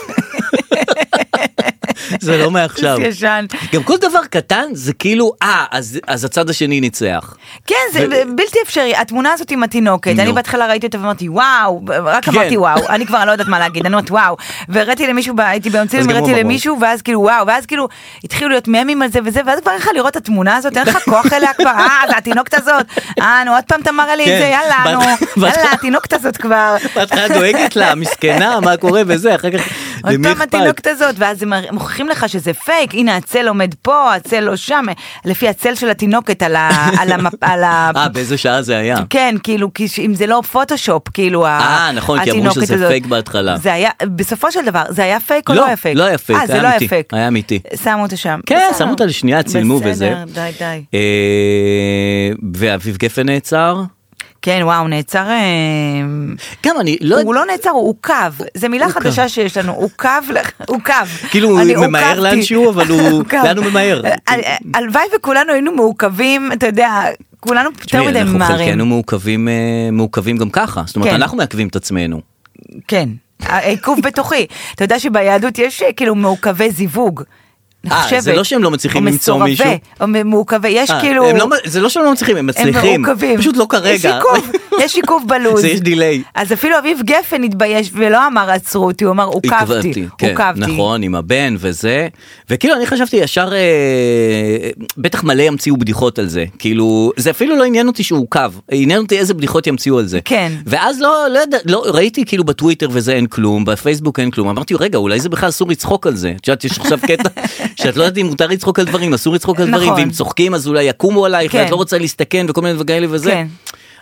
B: זה לא מעכשיו.
C: סוס ישן.
B: גם כל דבר קטן זה כאילו, אה, אז, אז הצד השני ניצח.
C: כן, זה
B: ו-
C: ב- בלתי אפשרי, התמונה הזאת עם התינוקת,
B: נו.
C: אני בהתחלה ראיתי אותה ואמרתי וואו, רק
B: כן.
C: אמרתי וואו, אני כבר לא יודעת מה להגיד, אני אומרת וואו, והראיתי למישהו, ב- הייתי ביום
B: אז
C: צילום,
B: גם הוא
C: הראיתי
B: אמר,
C: למישהו, ואז כאילו וואו, ואז כאילו התחילו להיות ממים על זה וזה, ואז כבר אין לך לראות את התמונה הזאת, אין לך כוח אליה כבר, אה, זה התינוקת הזאת, אה, נו, עוד פעם תמרה לי את
B: כן.
C: זה, יאללה, נו,
B: בהתחלה- בהתחלה-
C: יאללה, התינוקת הזאת כבר.
B: בהתחלה דואגת לה, מסכנה, מה קורה וזה, אחר כך,
C: עוד
B: למי
C: פעם
B: אכפת?
C: התינוקת הזאת, ואז הם מר- מוכיחים לך שזה פייק, הנה הצל עומד פה, הצל לא שם, לפי הצל של התינוקת על ה- על המפ- על ה...
B: אה, באיזה שעה זה היה?
C: כן, כאילו, כי ש- אם זה לא פוטושופ, כאילו,
B: אה, נכון, כי אמרו
C: התינוקת
B: שזה
C: הזאת.
B: פייק בהתחלה.
C: זה היה, בסופו של דבר, זה היה פייק או
B: לא,
C: לא היה פייק?
B: לא היה פייק,
C: אה, זה
B: היה
C: לא היה
B: אמיתי,
C: פייק.
B: היה אמיתי.
C: שמו אותו שם.
B: כן,
C: בסדר.
B: שמו אותה לשנייה, צילמו וזה.
C: בסדר, די, די.
B: אה, ואביב גפן נעצר.
C: כן, וואו, נעצר... אה,
B: גם אני לא...
C: הוא לא נעצר, הוא עוכב. זו מילה
B: עוכב.
C: חדשה שיש לנו, עוכב, לח- עוכב.
B: כאילו הוא
C: אני
B: ממהר
C: עוכבתי.
B: לאנשהו, אבל הוא-
C: עוכב.
B: לאן הוא ממהר?
C: אה, אה, הלוואי וכולנו היינו מעוכבים, אתה יודע, כולנו יותר
B: תשמעי,
C: מדי
B: אנחנו
C: ממהרים.
B: חלקנו מעוכבים, אה, מעוכבים גם ככה, זאת אומרת
C: כן.
B: אנחנו מעכבים את עצמנו.
C: כן, העיכוב בתוכי. אתה יודע שביהדות יש אה, כאילו מעוכבי זיווג. אני
B: אה, זה
C: חושבת.
B: לא שהם לא מצליחים
C: או
B: למצוא
C: מסורבי,
B: מישהו?
C: או מ- מעוכבי, יש
B: אה,
C: כאילו...
B: הם לא מ- זה לא שהם לא מצליחים, הם מצליחים,
C: הם מעוכבים.
B: פשוט לא כרגע.
C: יש עיכוב, יש עיכוב בלוז.
B: זה יש דיליי.
C: אז אפילו אביב גפן התבייש ולא אמר עצרו אותי, הוא אמר עוכבתי,
B: כן,
C: עוכבתי.
B: נכון, עם הבן וזה, וכאילו אני חשבתי ישר, אה, בטח מלא ימציאו בדיחות על זה, כאילו, זה אפילו לא עניין אותי שהוא עוכב, עניין אותי איזה בדיחות ימציאו על זה.
C: כן.
B: ואז לא, לא יודע, לא, ראיתי כאילו בטוויטר וזה אין כלום, בפייסבוק אין כלום, אמרתי רגע, אולי זה בכלל אסור לצחוק על זה, את יודעת, יש עכשיו קטע שאת לא יודעת אם מותר לצחוק על דברים, אסור לצחוק על דברים,
C: נכון.
B: ואם צוחקים אז אולי יקומו עלייך,
C: כן.
B: ואת לא רוצה להסתכן וכל מיני וכאלה וזה.
C: כן.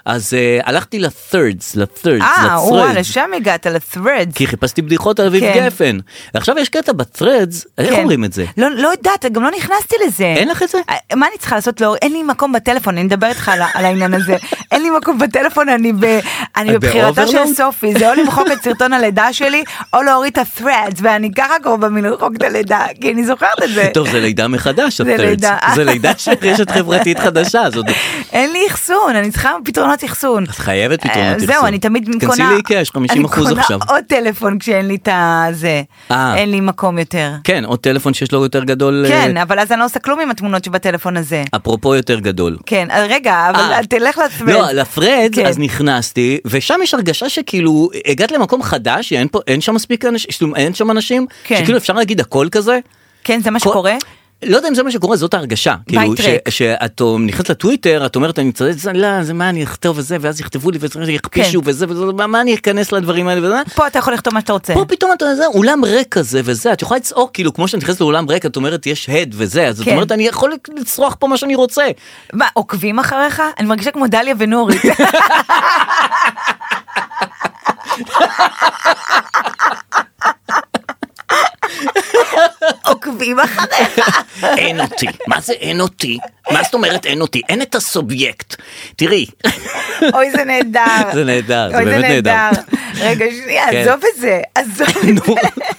B: אז אה, הלכתי ל-thirds, ל-thirds,
C: אה, וואלה,
B: ל-threads.
C: לשם הגעת, לת'רדס.
B: כי חיפשתי בדיחות על אביב
C: כן.
B: גפן. עכשיו יש קטע ב-threads, איך אומרים את זה?
C: לא, לא יודעת, גם לא נכנסתי לזה.
B: אין לך את זה?
C: אה, מה אני צריכה לעשות? לא, אין לי מקום בטלפון, אני מדברת איתך על, ה- על העניין הזה. אין לי מקום בטלפון, אני, ב, אני
B: את
C: בבחירתה של
B: ב-overload?
C: סופי, זה או למחוק את סרטון הלידה שלי, או להוריד את ה-threads, ואני ככה קרובה מלמחוק את הלידה, כי אני זוכרת את זה.
B: טוב, זה לידה מחדש,
C: זה
B: ה-threads.
C: לידה.
B: זה לידה של רשת חברתית חדשה, זאת
C: אין לי אחסון, אני צריכה פתרונות אחסון.
B: את חייבת פתרונות
C: אה,
B: אחסון.
C: זהו, אני תמיד
B: תכנסי
C: קונה...
B: לאיקאה, יש 50%
C: אני
B: עכשיו.
C: קונה עוד טלפון כשאין לי את הזה.
B: אה.
C: אין לי מקום יותר.
B: כן, עוד טלפון שיש לו יותר גדול. אה,
C: כן, אבל אז אני לא עושה כלום עם התמונות שבטלפון הזה.
B: אפרופו יותר גדול.
C: כן, אז רגע,
B: אה.
C: אבל תלך לעצמך.
B: לא, לפרד,
C: כן.
B: אז נכנסתי, ושם יש הרגשה שכאילו הגעת למקום חדש, שאין פה- אין שם מספיק אנשים, זאת אומרת, אין שם אנשים,
C: כן.
B: שכאילו אפשר להגיד הכל כזה.
C: כן, זה מה
B: כל-
C: שקורה?
B: לא יודע אם זה מה שקורה, זאת ההרגשה. כאילו, ש-
C: ריק.
B: שאת נכנסת לטוויטר, את אומרת, אני צריך, לא, זה מה אני אכתוב וזה, ואז יכתבו לי וזה, יכפישו
C: כן.
B: וזה, וזה, מה- מה אני אכנס לדברים האלה וזה.
C: פה אתה יכול לכתוב מה שאתה רוצה.
B: פה פתאום אתה זה אולם ריק כזה וזה את יכולה לצעוק כאילו כמו שאת נכנסת לאולם ריק את אומרת יש הד וזה אז את
C: כן.
B: אומרת אני יכול לצרוח פה מה שאני רוצה.
C: מה, עוקבים אחריך? אני מרגישה כמו דליה ונורית. עוקבים אחריך.
B: אין אותי מה זה אין אותי מה זאת אומרת אין אותי אין את הסובייקט תראי
C: אוי, זה נהדר.
B: זה נהדר, זה
C: אוי,
B: באמת נהדר.
C: רגע, שנייה,
B: כן.
C: עזוב את זה. עזוב את זה.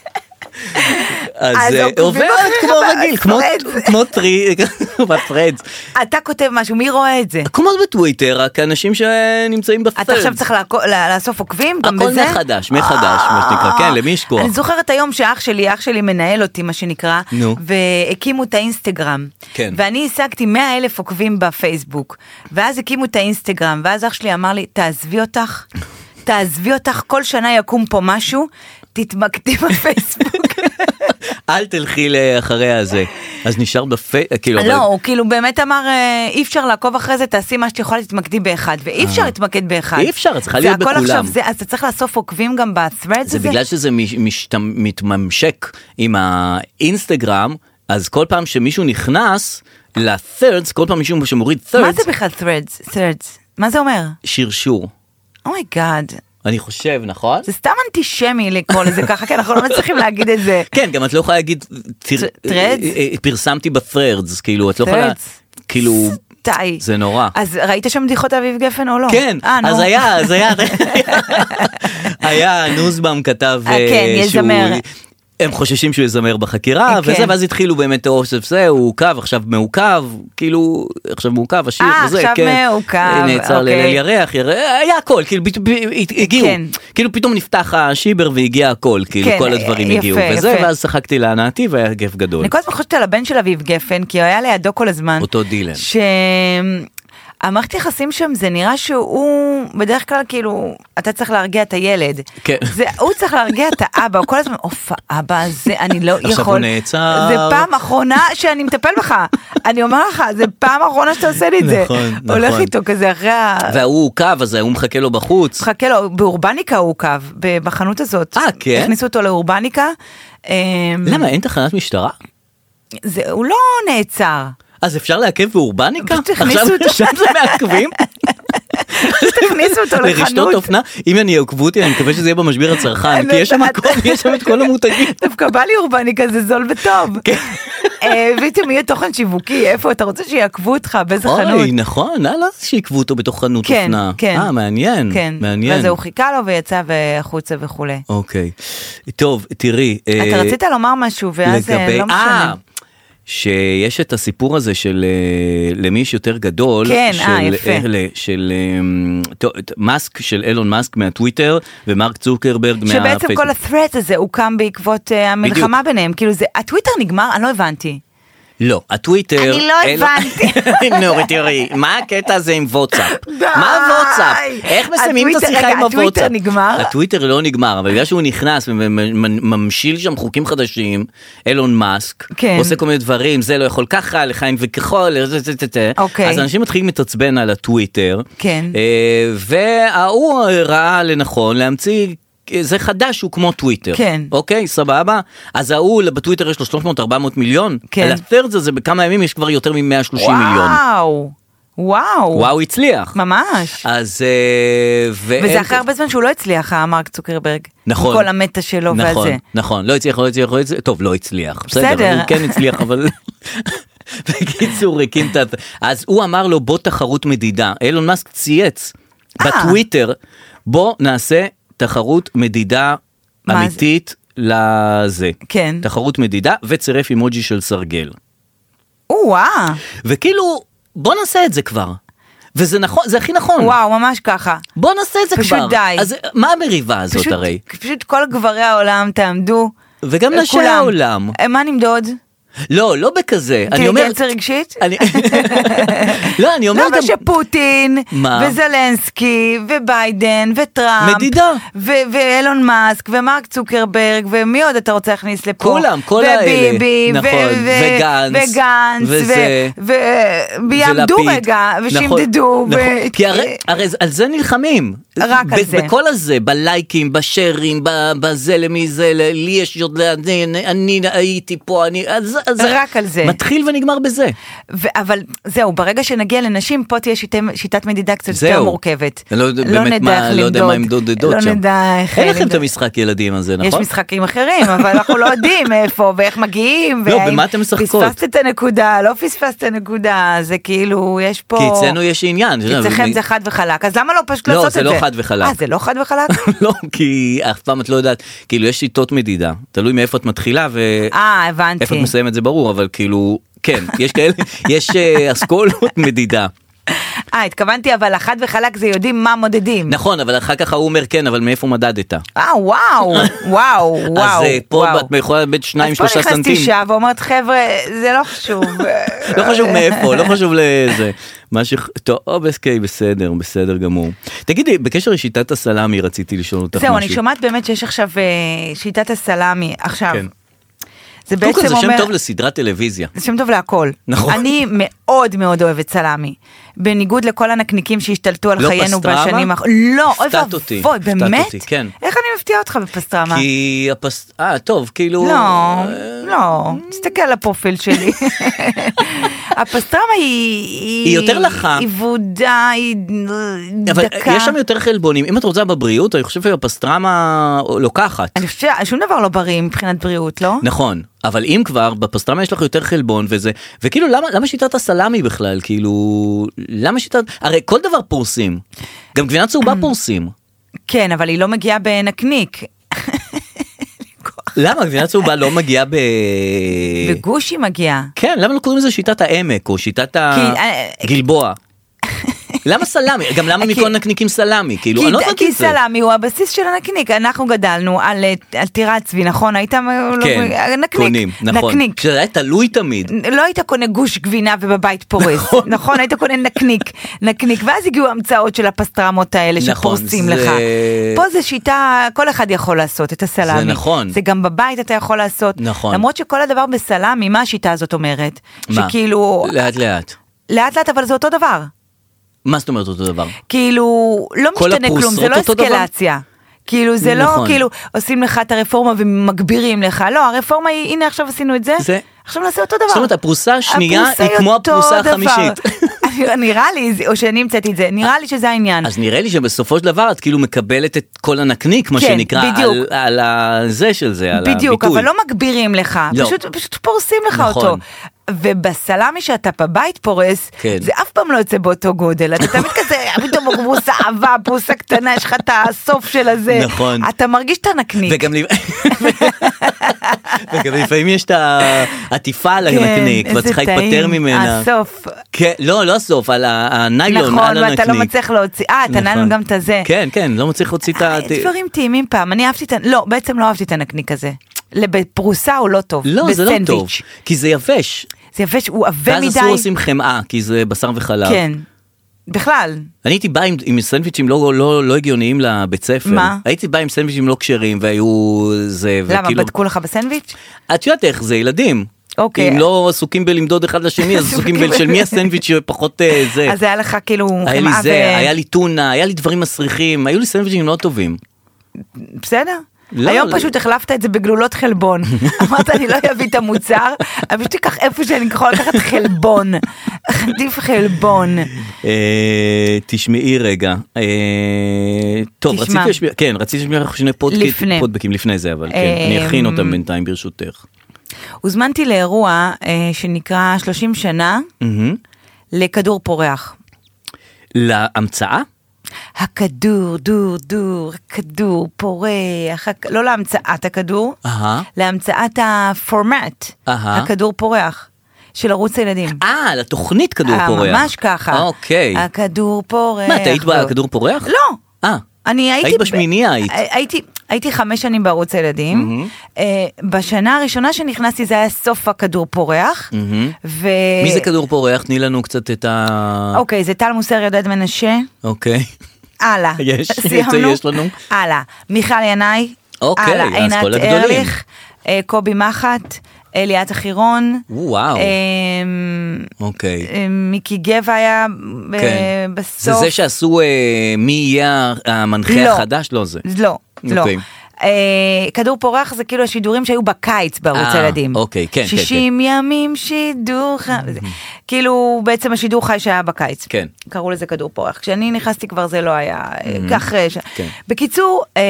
B: אז אה,
C: עוקבים
B: עוברת
C: אחריך
B: כמו רגיל כמו
C: בפרדס.
B: כמו טרי בפרדס
C: אתה כותב משהו, מי רואה את זה?
B: כמו בטוויטר רק אנשים שנמצאים בפרדס.
C: אתה עכשיו צריך לעקו- ל- לאסוף עוקבים גם
B: הכל
C: בזה? אה,
B: מחדש, מחדש, מה שנקרא, כן, למי יש כוח?
C: אני זוכרת היום שאח שלי, אח שלי מנהל אותי מה שנקרא,
B: נו.
C: והקימו את האינסטגרם.
B: כן.
C: ואני השגתי 100 אלף עוקבים בפייסבוק, ואז הקימו את האינסטגרם, ואז אח שלי אמר לי, תעזבי אותך, תעזבי אותך, כל שנה יקום פה משהו, תתמקדי בפייסבוק.
B: אל תלכי לאחרי הזה אז נשאר בפי... כאילו
C: לא,
B: אבל-
C: הוא כאילו באמת אמר, אה, אי אפשר לעקוב אחרי זה, תעשי מה שאת יכולה, תתמקדי באחד, ואי אפשר להתמקד באחד.
B: אה. אי אפשר, את צריכה
C: זה
B: להיות
C: הכל
B: בכולם.
C: עכשיו זה, אז אתה צריך לאסוף עוקבים גם ב-threads הזה?
B: זה בגלל שזה מש- משת- מתממשק עם האינסטגרם, אז כל פעם שמישהו נכנס ל-thirds, כל פעם מישהו שמוריד
C: מה זה
B: thirds,
C: בכלל threads? threads? מה זה אומר?
B: שרשור.
C: אומייגאד.
B: אני חושב, נכון?
C: זה סתם אנטישמי לקרוא לזה ככה, כי אנחנו לא מצליחים להגיד את זה.
B: כן, גם את לא יכולה להגיד, "תר-
C: threads?
B: אה, אה, פרסמתי ב-thirds, כאילו, את לא יכולה,
C: threads?
B: כאילו,
C: די.
B: זה נורא.
C: אז ראית שם בדיחות אביב גפן או לא?
B: כן,
C: אה, נו.
B: אז היה, אז היה, היה, נוסבאום כתב,
C: אה,
B: אה,
C: כן,
B: שהוא-
C: יזמר.
B: הם חוששים שהוא יזמר בחקירה,
C: אה, כן.
B: וזה, ואז התחילו באמת אוסף זה, הוא עוכב, עכשיו מעוכב, כאילו, עכשיו מעוכב, השיר
C: אה,
B: וזה,
C: עכשיו
B: כן.
C: מעוכב,
B: נעצר
C: אוקיי.
B: לליל ירח, יר- היה הכל, כאילו, ב- ב- הגיעו,
C: כן.
B: כאילו פתאום נפתח השיבר והגיע הכל, כאילו,
C: כן,
B: כל הדברים
C: יפה,
B: הגיעו, וזה,
C: יפה. נכון.
B: ואז שחקתי להנאתי והיה כיף גדול.
C: אני כל הזמן חושבת על הבן של אביב גפן, כי הוא היה לידו כל הזמן.
B: אותו דילן.
C: ש... המערכת יחסים שם זה נראה שהוא בדרך כלל כאילו אתה צריך להרגיע את הילד.
B: כן.
C: זה, הוא צריך להרגיע את האבא, הוא כל הזמן אוף האבא הזה אני לא יכול.
B: הוא נעצר.
C: זה פעם אחרונה שאני מטפל בך. אני אומר לך זה פעם אחרונה שאתה עושה לי את זה.
B: נכון, נכון.
C: הולך איתו כזה אחרי ה...
B: וההוא עוכב, אז ההוא מחכה לו בחוץ.
C: חכה לו באורבניקה הוא עוכב ב- בחנות הזאת.
B: אה, כן?
C: הכניסו אותו לאורבניקה. אמ,
B: למה, אין תחנת משטרה?
C: זה, הוא לא נעצר.
B: אז אפשר לעכב באורבניקה?
C: פשוט הכניסו
B: עכשיו-
C: אותו.
B: עכשיו זה מעכבים?
C: תכניסו אותו
B: לרשתות
C: לחנות.
B: אופנה, אם אני יעקבו אותי, אני מקווה שזה יהיה במשביר הצרכן,
C: אני
B: אה, כי יש שם
C: יודעת.
B: הכל, יש שם את כל המותגים. כן.
C: דווקא בא לי אורבני כזה זול וטוב. אה, פתאום יהיה תוכן שיווקי, איפה אתה רוצה שיעקבו אותך, באיזה חנות.
B: אוי, נכון, הלאה, שעיכבו אותו בתוך חנות
C: כן,
B: אופנה.
C: כן.
B: אה, מעניין,
C: כן.
B: מעניין.
C: ואז הוא חיכה לו ויצא והחוצה וכולי.
B: אוקיי. טוב, תראי.
C: אתה
B: אה,
C: רצית לומר משהו, ואז אה,
B: לגבי-
C: לא משנה.
B: אה, שיש את הסיפור הזה של אה, למי יש יותר גדול,
C: כן,
B: של,
C: אה, יפה.
B: אלה, של אה, טוב, את מאסק, של אילון מאסק מהטוויטר ומרק צוקרברג מהפייסבוק.
C: שבעצם כל ה-threat הזה הוקם בעקבות אה, המלחמה ביניהם, כאילו זה, הטוויטר נגמר? אני לא הבנתי.
B: לא, הטוויטר...
C: אני לא הבנתי.
B: נו, תראי, מה הקטע הזה עם וואטסאפ?
C: די.
B: מה וואטסאפ? איך מסיימים את
C: הטוויטר-
B: השיחה
C: רגע,
B: עם הוואטסאפ?
C: הטוויטר נגמר?
B: הטוויטר לא נגמר, אבל בגלל שהוא נכנס וממשיל שם חוקים חדשים, אילון מאסק,
C: כן.
B: עושה כל מיני דברים, זה לא יכול ככה, לחיים וכחול, זה, זה, זה, זה.
C: אוקיי.
B: אז אנשים מתחילים להתעצבן על הטוויטר,
C: כן.
B: אה, וההוא ראה לנכון להמציא... אה, זה חדש, הוא כמו טוויטר.
C: כן.
B: אוקיי, סבבה? אז ההוא בטוויטר יש לו 300-400 מיליון,
C: כן.
B: על ה-thirds הזה בכמה ימים יש כבר יותר מ-130 מיליון.
C: וואו, וואו,
B: וואו הצליח.
C: ממש.
B: אז... אה, ואין-
C: וזה אחרי הרבה זמן שהוא לא הצליח, אה, מרק צוקרברג.
B: נכון.
C: עם כל המטה שלו
B: נכון,
C: והזה.
B: נכון, לא הצליח, לא הצליח, לא הצליח, טוב, לא הצליח.
C: בסדר.
B: בסדר. הוא כן הצליח, אבל... בקיצור, הקים את ה... אז הוא אמר לו, בוא תחרות מדידה. אילון מאסק צייץ
C: אה.
B: בטוויטר, בוא נעשה תחרות מדידה
C: מה זה?
B: אמיתית לזה.
C: כן.
B: תחרות מדידה, וצירף אימוג'י של סרגל.
C: וואו,
B: וכאילו, בוא נעשה את זה כבר. וזה נכון, זה הכי נכון.
C: וואו, ממש ככה.
B: בוא נעשה את זה
C: פשוט
B: כבר.
C: די.
B: אז מה המריבה הזאת
C: פשוט-
B: הרי?
C: פשוט כל גברי העולם תעמדו.
B: וגם
C: אה,
B: נשי
C: כולם.
B: העולם.
C: אה, מה נמדוד?
B: לא, לא בכזה.
C: כן,
B: אני אומר...
C: אינטליגנציה רגשית?
B: אני- לא, אני אומר
C: לא,
B: גם...
C: ושפוטין,
B: מה?
C: וזלנסקי, וביידן, וטראמפ,
B: מדידה.
C: ו- ואילון מאסק, ומרק צוקרברג, ומי עוד אתה רוצה להכניס לפה?
B: כולם, כל האלה.
C: וביבי, ו-
B: נכון,
C: ו-
B: וגנץ,
C: וגנץ,
B: וזה.
C: ו- ו- ויעמדו
B: ולפיד.
C: רגע, ושימדדו,
B: נכון, נכון. כי הרי, הרי זה- על זה נלחמים.
C: רק על
B: ב-
C: זה.
B: בכל הזה, בלייקים, בשיירים, ב- בזה למי זה, ל- לי יש עוד, ל- אני, אני הייתי פה, אני... אז, אז
C: רק על זה.
B: מתחיל ונגמר בזה.
C: ו- אבל זהו, ברגע שנגיע לנשים, פה תהיה שיטת, שיטת מדידה קצת יותר
B: זהו.
C: מורכבת.
B: אני לא יודע באמת
C: נדע
B: מה-
C: איך
B: לא יודע מה הם
C: למדוד,
B: דודדות שם.
C: לא נדע איך
B: אין לכם את
C: למדוד.
B: המשחק ילדים הזה, נכון?
C: יש משחקים אחרים, אבל אנחנו לא יודעים איפה ואיך מגיעים.
B: לא,
C: והאם
B: במה אתם משחקות?
C: פספסת את הנקודה, לא פספסת נקודה, זה כאילו, יש פה...
B: כי אצלנו יש עניין.
C: כי אצלכם זה חד וחלק, אז למה לא פשוט
B: לא,
C: לעשות את
B: זה
C: זה?
B: לא חד וחלק.
C: אה, זה לא חד וחלק?
B: לא, כי אף פעם את לא יודעת, כאילו יש שיטות מדידה, תלוי מאיפה את מתחילה ואיפה
C: אה, הבנתי.
B: את מסיימת זה ברור, אבל כאילו, כן, יש כאלה, יש אה, אסכולות מדידה.
C: אה, התכוונתי, אבל החד וחלק זה יודעים מה מודדים.
B: נכון, אבל אחר כך ההוא אומר כן, אבל מאיפה מדדת?
C: אה, וואו, וואו, וואו.
B: אז אה, פה
C: וואו.
B: את יכולה לאבד שניים,
C: אז פה
B: שלושה
C: נכנסתי
B: סנטים.
C: אישה ואומרת, חבר'ה, זה לא חשוב.
B: לא חשוב מאיפה, לא חשוב לאיזה. מה ש... טוב, אוקיי, בסדר, בסדר גמור. תגידי, בקשר לשיטת הסלאמי רציתי לשאול אותך משהו.
C: זהו, אני שומעת באמת שיש עכשיו אה, שיטת הסלאמי, עכשיו.
B: כן.
C: זה
B: קודם כל
C: בעצם
B: זה
C: אומר...
B: שם טוב לסדרת טלוויזיה.
C: זה שם טוב להכל.
B: נכון.
C: אני מאוד מאוד אוהבת סלמי. בניגוד לכל הנקניקים שהשתלטו על
B: לא
C: חיינו
B: פסטרמה?
C: בשנים האחרונות. לא, אוי
B: הפתעת אותי,
C: ואבוי,
B: הפתעת
C: באמת?
B: אותי, כן.
C: איך אני מפתיעה אותך בפסטרמה?
B: כי הפס... אה, טוב, כאילו...
C: לא,
B: אה,
C: לא, תסתכל על הפרופיל שלי. הפסטרמה היא...
B: היא יותר לחה.
C: היא ורודה, היא
B: אבל
C: דקה.
B: יש שם יותר חלבונים אם את רוצה בבריאות אני חושב שהפסטרמה לוקחת
C: אני חושבת ששום דבר לא בריא מבחינת בריאות, לא?
B: נכון אבל אם כבר בפסטרמה יש לך יותר חלבון וזה וכאילו למה למה שיטת הסלאמי בכלל כאילו למה שיטת הרי כל דבר פורסים גם גבינה צהובה פורסים
C: כן, אבל היא לא מגיעה בנקניק.
B: אה. למה גבינה צהובה לא מגיעה ב...
C: בגוש היא מגיעה.
B: כן למה לא קוראים לזה שיטת העמק או שיטת
C: אה,
B: הגלבוע. למה סלאמי גם למה
C: כי-
B: מכל נקניקים סלאמי כאילו אני לא
C: כי,
B: הבנתי
C: כי
B: את זה.
C: סלמי הוא הבסיס של הנקניק, אנחנו גדלנו על, אה, על טירצבי, נכון? היית
B: כן,
C: אה, נקניק,
B: קונים, נכון,
C: נקניק.
B: כשזה היה תלוי תמיד,
C: לא היית קונה גוש גבינה ובבית פורס, נכון? היית קונה נקניק, נקניק, ואז הגיעו ההמצאות של הפסטרמות האלה
B: נכון,
C: שפורסים
B: זה-
C: לך. פה זה שיטה, כל אחד יכול לעשות את הסלמי.
B: זה נכון.
C: זה גם בבית אתה יכול לעשות.
B: נכון.
C: למרות שכל הדבר בסלמי, מה השיטה הזאת אומרת?
B: מה?
C: שכאילו,
B: לאט לאט.
C: לאט לאט אבל זה אותו דבר.
B: מה זאת אומרת אותו דבר?
C: כאילו לא
B: כל
C: משתנה כלום, זה
B: הפרוסות
C: לא
B: אותו דבר?
C: אסקלציה. כאילו זה לא
B: נכון.
C: כאילו עושים לך את הרפורמה ומגבירים לך, לא הרפורמה היא הנה עכשיו עשינו את זה,
B: זה-
C: עכשיו נעשה אותו דבר.
B: זאת אומרת, הפרוסה השנייה
C: הפרוסה
B: היא כמו
C: אותו
B: הפרוסה
C: דבר.
B: החמישית.
C: נראה לי, זה- או שאני המצאתי את זה, נראה לי שזה העניין.
B: אז נראה לי שבסופו של דבר את כאילו מקבלת את כל הנקניק, מה
C: כן,
B: שנקרא,
C: בדיוק.
B: על- על הזה של זה, על הביטוי.
C: בדיוק, אבל לא מגבירים לך,
B: לא.
C: פשוט, פשוט פורסים לך
B: נכון.
C: אותו. ובסלמי שאתה בבית פורס,
B: כן.
C: זה אף פעם לא יוצא באותו גודל, אתה תמיד כזה, פתאום פרוסה עבה, פרוסה קטנה, יש לך את הסוף של הזה.
B: נכון.
C: אתה מרגיש את הנקניק.
B: וגם, לפ- וגם לפעמים יש את העטיפה על
C: כן,
B: הנקניק, ואת
C: איזה
B: צריכה להיפטר
C: טעים.
B: ממנה.
C: הסוף.
B: כן, לא, לא הסוף, על ה- הניילון,
C: נכון,
B: על הנקניק.
C: ואתה לא מצליח להוציא, אה, אתה
B: נכון.
C: נעלון גם את הזה.
B: כן, כן, לא מצליח להוציא את ה...
C: אה, דברים טעימים פעם, אני אהבתי את, ה- לא, בעצם לא אהבתי את הנקניק הזה. בפרוסה הוא לא טוב,
B: לא, זה לא
C: בסנדוויץ'.
B: טוב, כי זה יבש.
C: זה יפה שהוא עבה
B: ואז
C: מדי.
B: אסור לשים חמאה, כי זה בשר וחלב.
C: כן. בכלל,
B: אני הייתי בא עם, עם סנדוויצ'ים לא, לא, לא הגיוניים לבית ספר.
C: מה?
B: הייתי בא עם סנדוויצ'ים לא כשרים והיו זה, כאילו-
C: למה בדקו לך בסנדוויץ'?
B: את יודעת איך זה, ילדים.
C: אוקיי.
B: אם לא עסוקים בלמדוד אחד לשני, אז עסוקים ב... של מי הסנדוויץ' שפחות אה, זה.
C: אז היה לך כאילו
B: היה לי
C: חמאה
B: זה,
C: ו-
B: היה לי טונה, היה לי דברים מסריחים, היו לי סנדוויצ'ים לא טובים.
C: בסדר.
B: לא,
C: היום
B: לא.
C: פשוט החלפת את זה בגלולות חלבון. אמרת אני לא אביא את המוצר, אני פשוט אקח איפה שאני יכולה לקחת חלבון. עדיף חלבון.
B: אה, תשמעי רגע. אה, טוב,
C: תשמע.
B: רציתי להשמיע, כן, רציתי להשמיע לך שני פודק-
C: לפני.
B: פודבקים לפני זה, אבל כן,
C: אה,
B: אני אכין אותם
C: אמ,
B: בינתיים ברשותך.
C: הוזמנתי לאירוע אה, שנקרא 30 שנה
B: מהמם.
C: לכדור פורח.
B: להמצאה?
C: הכדור, דור, דור, כדור פורח, הכ- לא להמצאת הכדור,
B: אהה.
C: להמצאת הפורמט,
B: אהה.
C: הכדור פורח, של ערוץ הילדים.
B: אה, לתוכנית כדור
C: אה,
B: פורח.
C: ממש ככה.
B: אוקיי.
C: הכדור פורח.
B: מה, את היית בכדור פורח?
C: לא.
B: אה.
C: אני הייתי...
B: היית בשמינייה, היית. Mm-hmm.
C: הייתי, הייתי חמש שנים בערוץ הילדים. אה, בשנה הראשונה שנכנסתי זה היה סוף הכדור פורח. ו...
B: Mm-hmm. מי
C: אה,
B: זה כדור פורח? תני לנו קצת את ה...
C: אוקיי, זה טל מוסר ידד מנשה.
B: אוקיי.
C: הלאה.
B: יש,
C: סיימנו.
B: יש לנו.
C: הלאה. מיכל ינאי.
B: אוקיי,
C: הלאה.
B: אז
C: עינת
B: כל הגדולים.
C: ארליך. אה, קובי מחט. אה, ליאת אחירון.
B: וואו.
C: אה, אמ,
B: אוקיי.
C: אמ, מיקי גבע היה אה,
B: כן. זה
C: בסוף.
B: זה שעשו אה, מי יהיה המנחה
C: לא.
B: החדש? לא זה.
C: לא, לא.
B: אוקיי.
C: אה, כדור פורח זה כאילו השידורים שהיו בקיץ בערוץ
B: אה,
C: הילדים.
B: אוקיי, כן, כן,
C: 60 ימים שידור חי, זה- כאילו בעצם השידור חי שהיה בקיץ.
B: כן.
C: קראו לזה כדור פורח. כשאני נכנסתי כבר זה לא היה, אה, כך... אה, ש-
B: כן.
C: בקיצור, אה,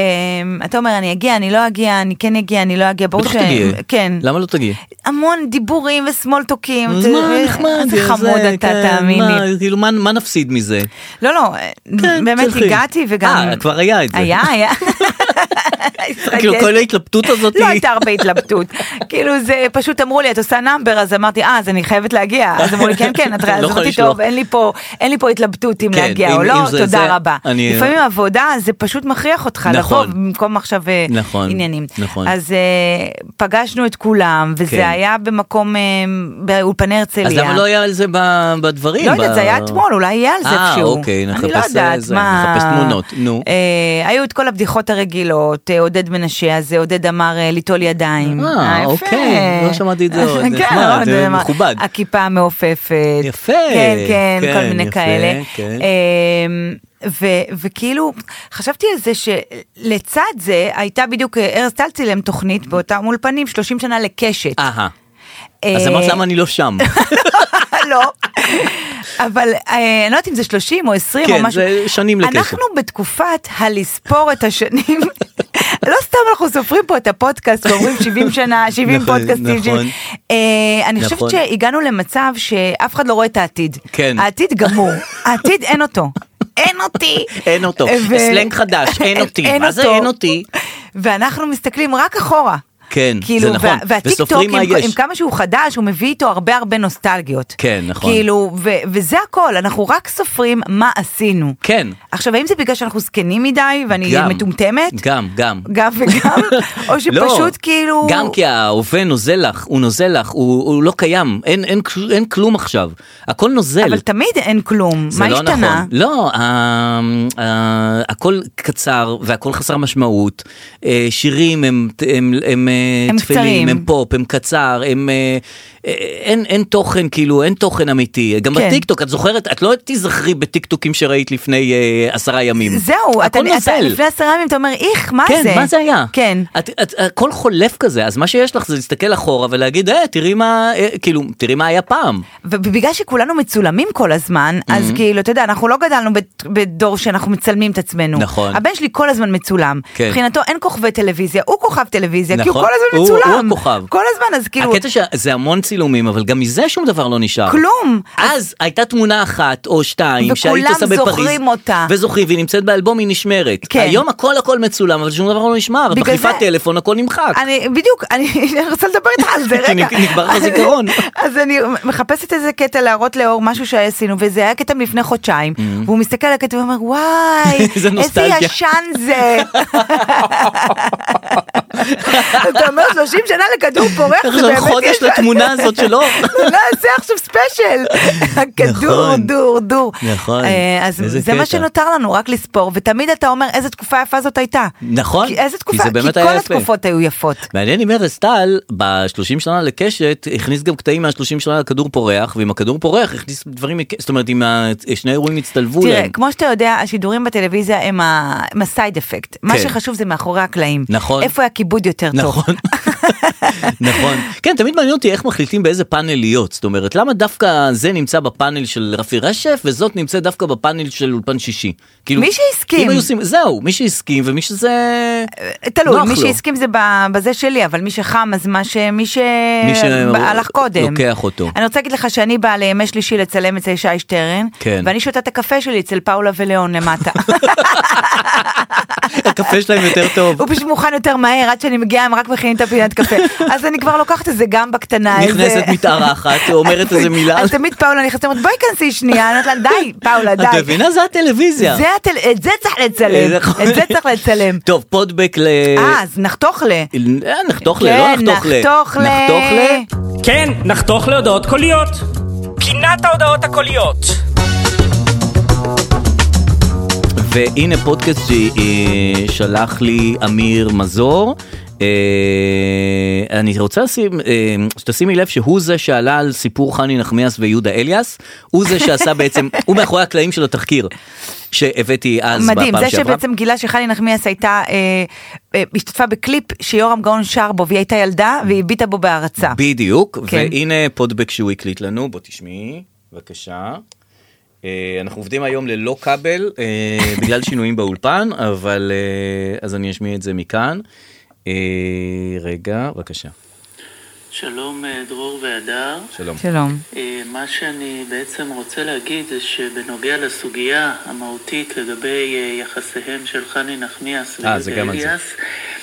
C: אתה אומר אני אגיע, אני לא אגיע, אני כן אגיע, אני לא אגיע, ברור
B: בטח תגיעי.
C: כן.
B: למה לא תגיעי?
C: המון דיבורים וסמולטוקים.
B: אז
C: אתה-
B: מה נחמד,
C: איזה חמוד
B: זה,
C: אתה,
B: כן,
C: תאמין לי.
B: מה, כאילו, מה- מה נפסיד מזה?
C: לא, לא, אה,
B: כן,
C: באמת
B: תלכי.
C: הגעתי וגם...
B: אה, כבר היה את זה.
C: היה, היה.
B: כאילו, כל ההתלבטות הזאת
C: לא
B: היא-
C: הייתה הרבה התלבטות. כאילו זה פשוט אמרו לי את עושה נאמבר אז אמרתי אה אז אני חייבת להגיע אז אמרו לי כן כן את
B: לא
C: אז
B: יכול
C: אמרתי
B: לשלוח."
C: טוב אין לי פה אין לי פה התלבטות אם
B: כן,
C: להגיע
B: אם-
C: או
B: אם
C: לא
B: זה- זה-
C: תודה רבה.
B: אני-
C: לפעמים עבודה זה פשוט מכריח אותך לבוא
B: נכון.
C: במקום עכשיו אה,
B: נכון,
C: עניינים.
B: נכון.
C: אז אה, פגשנו את כולם
B: כן.
C: וזה היה במקום אה, באולפני הרצליה.
B: אז למה לא היה על זה ב- בדברים?
C: לא יודעת,
B: ב-
C: זה היה אתמול, אולי יהיה על זה
B: אה,
C: איפשהו.
B: אוקיי,
C: אני לא
B: נחפש,
C: יודעת
B: אה, זה,
C: מה...
B: נחפש תמונות, נו.
C: אה, היו את כל הבדיחות הרגילות, אה, עודד מנשה הזה, עודד אמר אה, ליטול ידיים.
B: אה,
C: יפה.
B: אוקיי, לא שמעתי את זה עוד,
C: כן,
B: נחמד,
C: מאוד,
B: זה
C: אמר,
B: מכובד.
C: הכיפה המעופפת.
B: יפה,
C: כן, כן,
B: כן,
C: כל מיני
B: יפה,
C: כאלה.
B: כן.
C: אה, ו- וכאילו, חשבתי על זה שלצד זה הייתה בדיוק, אה, ארז טל צילם תוכנית באותם אולפנים 30 שנה לקשת.
B: אהה. אז
C: אה,
B: אמרת למה אני לא שם.
C: לא. אבל אה, אני לא יודעת אם זה 30 או 20 או
B: כן,
C: משהו.
B: זה שנים לקשר.
C: אנחנו בתקופת הלספור את השנים. לא סתם אנחנו סופרים פה את הפודקאסט ואומרים 70 שנה, 70
B: נכון,
C: פודקאסטים.
B: נכון.
C: אה, אני חושבת
B: נכון.
C: שהגענו למצב שאף אחד לא רואה את העתיד.
B: כן.
C: העתיד גמור. העתיד אין אותו. אין אותי.
B: אין אותו.
C: ו-
B: סלנג חדש, אין אותי. מה זה
C: אותו.
B: אין אותי?
C: ואנחנו מסתכלים רק אחורה.
B: כן, זה
C: כאילו,
B: נכון.
C: וה- והטיקטוק,
B: וסופרים
C: עם,
B: מה יש.
C: עם כמה שהוא חדש, הוא מביא איתו הרבה הרבה נוסטלגיות.
B: כן, נכון.
C: כאילו, ו- וזה הכל, אנחנו רק סופרים מה עשינו.
B: כן.
C: עכשיו, האם זה בגלל שאנחנו זקנים מדי ואני
B: גם.
C: מטומטמת?
B: גם, גם.
C: גם וגם? או שפשוט כאילו...
B: לא. גם כי ההווה נוזל לך, הוא נוזל לך, הוא, הוא לא קיים, אין, אין, אין כלום עכשיו, הכל נוזל.
C: אבל תמיד אין כלום,
B: זה
C: מה
B: לא
C: השתנה?
B: נכון. לא, ה- ה- הכל קצר והכל חסר משמעות. אה, שירים הם, הם, הם, אה, אה,
C: הם
B: תפלים,
C: קצרים.
B: הם פופ, הם קצר, הם... אה, אה, אין, אין תוכן, כאילו, אין תוכן אמיתי. גם
C: כן.
B: בטיקטוק, את זוכרת, את לא תיזכרי בטיקטוקים שראית לפני אה, עשרה ימים.
C: זהו, אתה,
B: הכל
C: אתה
B: נוזל.
C: לפני עשרה ימים אתה אומר, איך, מה
B: כן,
C: זה?
B: מה זה היה?
C: כן.
B: את, את, הכל חולף כזה, אז מה שיש לך זה להסתכל אחורה ולהגיד, אה, תראי מה, אה, כאילו, תראי מה היה פעם.
C: ובגלל שכולנו מצולמים כל הזמן,
B: Mm-hmm.
C: אז כאילו, אתה יודע, אנחנו לא גדלנו בת- בדור שאנחנו מצלמים את עצמנו.
B: נכון.
C: הבן שלי כל הזמן מצולם.
B: כן.
C: מבחינתו אין כוכבי טלוויזיה, הוא כוכב טלוויזיה, כי הוא
B: נכון.
C: כל הזמן
B: הוא- הוא
C: מצולם.
B: הכוכב.
C: כל הזמן, אז כאילו,
B: הקטע שזה המון צילומים, אבל גם מזה שום דבר לא נשאר.
C: כלום.
B: אז הייתה תמונה אחת או שתיים שהיית
C: וכולם
B: עושה בפריז.
C: זוכרים אותה.
B: וזוכרים, והיא נמצאת באלבום, היא נשמרת.
C: כן.
B: היום הכל הכל מצולם, אבל שום דבר לא נשמר. את
C: בגלל
B: מחליפה
C: זה-
B: טלפון, הכל נמחק.
C: אני, בדיוק, אני רוצה לדבר איתך על זה,
B: כי
C: רגע.
B: נגמר לך
C: אז-
B: הזיכרון.
C: אז אני מחפשת איזה קטע להראות לאור משהו שעשינו, וזה היה קטע מלפני חודשיים, והוא מסתכל על הקטע ואומר, וואי,
B: Mm. איזה
C: איזה
B: נוסטלגיה."
C: ישן זה. אתה אומר 30 שנה לכדור פורח,
B: איך
C: זה
B: נכון, יש
C: באמת
B: לנו חודש
C: ישן."
B: לתמונה הזאת שלו?
C: לא, זה עכשיו ספיישל. הכדור,
B: נכון.
C: דור, דור.
B: נכון.
C: אה, אז
B: איזה
C: זה מה
B: קטע.
C: שנותר לנו, רק לספור, ותמיד אתה אומר איזה תקופה יפה זאת הייתה.
B: נכון,
C: כי איזה
B: כי
C: תקופה,
B: זה
C: כי
B: באמת
C: כל
B: היה יפה.
C: התקופות היו יפות.
B: מעניין אם ארז טל ב-30 שנה לקשת הכניס גם קטעים מה-30 שנה לכדור פורח ועם הכדור פורח הכניס דברים מכ- זאת אומרת אם ה- שני האירועים הצטלבו
C: תראה,
B: להם.
C: כמו שאתה יודע, השידורים בטלוויזיה הם ה- הם הסייד אפקט. מה
B: כן.
C: שחשוב זה מאחורי הקלעים.
B: נכון.
C: איפה הכיבוד יותר טוב.
B: נכון, נכון. כן, תמיד מעניין אותי איך מחליטים באיזה פאנל להיות. זאת אומרת, למה דווקא זה נמצא בפאנל של רפי רשף, וזאת נמצאת דווקא בפאנל של אולפן שישי. כאילו,
C: מי שהסכים. אה,
B: אם היו עושים- זהו, מי שהסכים ומי שזה...
C: תלוי,
B: נוח
C: מי
B: לו.
C: שהסכים זה ב- בזה שלי, אבל מי שחם אז מה ש... מי
B: מי
C: שהלך קודם.
B: לוקח אותו.
C: אני רוצה להגיד לך שאני באה לימי שלישי לצלם אצל שי שטרן,
B: כן.
C: ואני שותה את הקפה שלי אצל פאולה וליאון למטה.
B: הקפה שלהם יותר טוב.
C: הוא פשוט מוכן יותר מהר, עד שאני מגיעה הם רק מכינים את הפינת קפה. אז אני כבר לוקחת את זה גם בקטנה.
B: נכנסת
C: איזה-
B: מתארחת, אומרת איזה מילה.
C: אה, אז תמיד פאולה נכנסת, אומרת בואי כנסי שנייה, אני אומרת לה די, פאולה
B: את
C: די.
B: מבינה? זה הטלוויזיה.
C: זה הטל... את זה צריך לצלם,
B: נכון.
C: את זה צריך לצלם.
B: טוב, פודבק ל...
C: אה, אז נחתוך ל...
B: אה, נחתוך ל... לא
C: כן,
B: נחתוך ל...
C: נחתוך ל-
B: נחתוך ל...
A: כן, נחתוך להודעות קוליות. פינת ההודעות הקוליות.
B: והנה פודקאסט ששלח לי אמיר מזור. אה, אני רוצה לשים, אה, שתשימי לב שהוא זה שעלה על סיפור חני נחמיאס ויהודה אליאס, הוא זה שעשה בעצם, הוא מאחורי הקלעים של התחקיר שהבאתי אז
C: מדהים,
B: בפעם
C: זה
B: שעברה.
C: שבעצם גילה שחני נחמיאס הייתה, אה, אה, השתתפה בקליפ שיורם גאון שר בו, והיא הייתה ילדה והיא הביטה בו בהערצה.
B: בדיוק,
C: כן.
B: והנה פודבק שהוא הקליט לנו, בוא תשמעי, בבקשה. אה, אנחנו עובדים היום ללא כבל אה, בגלל שינויים באולפן, אבל אה, אז אני אשמיע את זה מכאן. אה, רגע, בבקשה.
D: שלום אה, דרור והדר.
B: שלום.
C: שלום.
D: אה, מה שאני בעצם רוצה להגיד זה שבנוגע לסוגיה המהותית לגבי אה, יחסיהם של חני נחמיאס
B: אה, זה
D: ויהודה
B: גם על זה.
D: אליאס,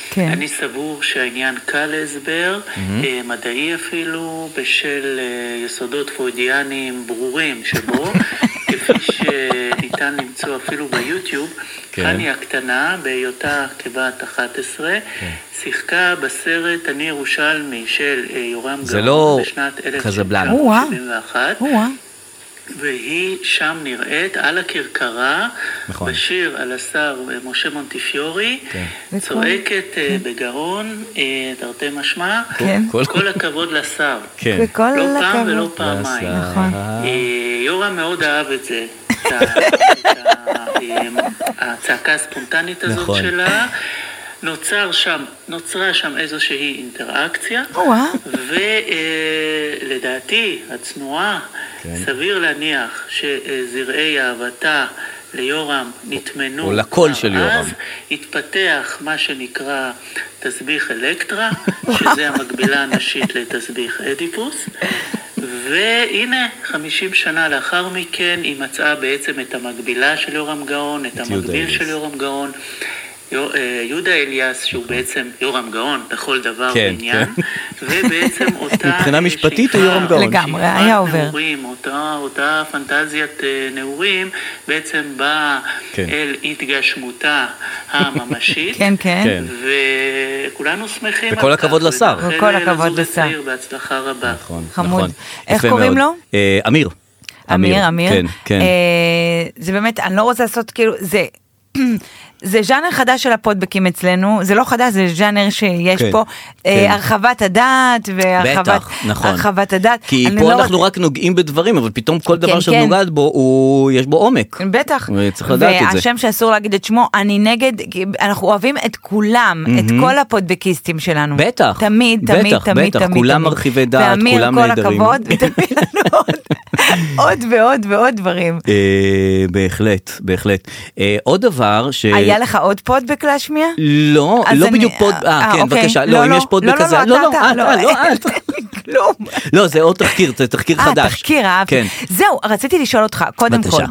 C: כן.
D: אני סבור שהעניין קל להסבר, אה, מדעי אפילו, בשל אה, יסודות פרוידיאניים ברורים שבו, כפי שניתן למצוא אפילו ביוטיוב,
B: כן.
D: חני הקטנה, בהיותה כבת 11,
B: כן.
D: שיחקה בסרט "אני ירושלמי" של אה, יורם
B: זה
D: גאון
B: לא
D: בשנת
B: קזבלן.
C: או-אה.
D: 1971.
C: או-אה.
D: והיא שם נראית על הכרכרה,
B: נכון.
D: בשיר על השר אה, משה מונטיפיורי,
B: כן.
C: זה
D: צועקת אה, בגאון, אה, תרתי משמע,
C: כן.
B: כל-
D: כל הכבוד לשר.
B: כן.
C: וכל
D: לא פעם
C: הכבוד.
D: ולא פעמיים.
B: לשר.
C: נכון.
D: אה, יורם מאוד אהב את זה. את ה- את ה- אה, הצעקה הספונטנית הזאת
B: נכון.
D: שלה. נוצר שם, נוצרה שם איזושהי אינטראקציה,
C: או-אה.
D: ולדעתי הצנועה,
B: כן.
D: סביר להניח שזרעי אהבתה ליורם נטמנו.
B: או לקול של
D: כבר
B: יורם.
D: אז התפתח מה שנקרא תסביך אלקטרה, שזה המקבילה הנשית לתסביך אדיפוס. והנה, 50 שנה לאחר מכן, היא מצאה בעצם את המקבילה של יורם גאון, את
B: יהודה
D: המקביל
B: אליאס.
D: של יורם גאון, יו- אה, יהודה אליאס, שהוא בעצם יורם גאון לכל דבר
B: נכון. כן,
D: ועניין,
B: כן.
D: ובעצם אותה...
B: מבחינה
D: אה,
B: משפטית הוא
D: שאיפה-
B: יורם גאון.
C: לגמרי,
D: שאיפת
C: היה עובר.
D: נעורים, אותה, אותה פנטזיית אה, נעורים, בעצם באה
B: כן.
D: אל התגשמותה הממשית.
C: כן, כן.
B: כן.
D: וכולנו שמחים
B: וכל הכבוד לשר.
C: וכל הכבוד
D: ולזוג
C: לשר.
D: הצעיר בהצלחה רבה.
B: נכון,
C: חמוד.
B: נכון.
C: איך
B: יפה
C: קוראים
B: מאוד.
C: לו?
B: אה, אמיר.
C: אמיר, אה, אמיר.
B: כן, כן.
C: אה, זה באמת, אני לא רוצה לעשות כאילו, זה זה ז'אנר חדש של הפודבקים אצלנו, זה לא חדש, זה ז'אנר שיש
B: כן,
C: פה, אה,
B: כן.
C: הרחבת הדעת והרחבת
B: בטח, נכון.
C: הרחבת הדעת.
B: כי
C: אני
B: פה
C: לא
B: אנחנו
C: רוצה-
B: רק נוגעים בדברים, אבל פתאום כל דבר
C: כן,
B: שאת
C: כן.
B: נוגעת בו, הוא- יש בו עומק.
C: בטח.
B: וצריך לדעת את זה.
C: והשם שאסור להגיד את שמו, אני נגד, כי אנחנו אוהבים את כולם, את כל הפודבקיסטים שלנו.
B: בטח.
C: תמיד,
B: בטח,
C: תמיד, תמיד,
B: בטח.
C: תמיד.
B: כולם
C: תמיד.
B: מרחיבי דעת,
C: ואמיר,
B: כולם
C: כל
B: נהדרים.
C: הכבוד, ותביא לנו עוד- עוד ועוד ועוד דברים.
B: אה, בהחלט, בהחלט. אה, עוד דבר ש...
C: היה לך עוד פודבק להשמיע?
B: לא,
C: אז
B: לא
C: אני-
B: בדיוק פוד... אה, כן,
C: אוקיי.
B: בבקשה. לא, אם יש פוד בכזה...
C: לא, לא, אתה,
B: את, אה, לא, את.
C: כלום.
B: לא, זה עוד תחקיר, זה תחקיר חדש.
C: אה, תחקיר, אהבתי.
B: כן.
C: זהו, רציתי לשאול אותך, קודם
B: בבקשה.
C: כל,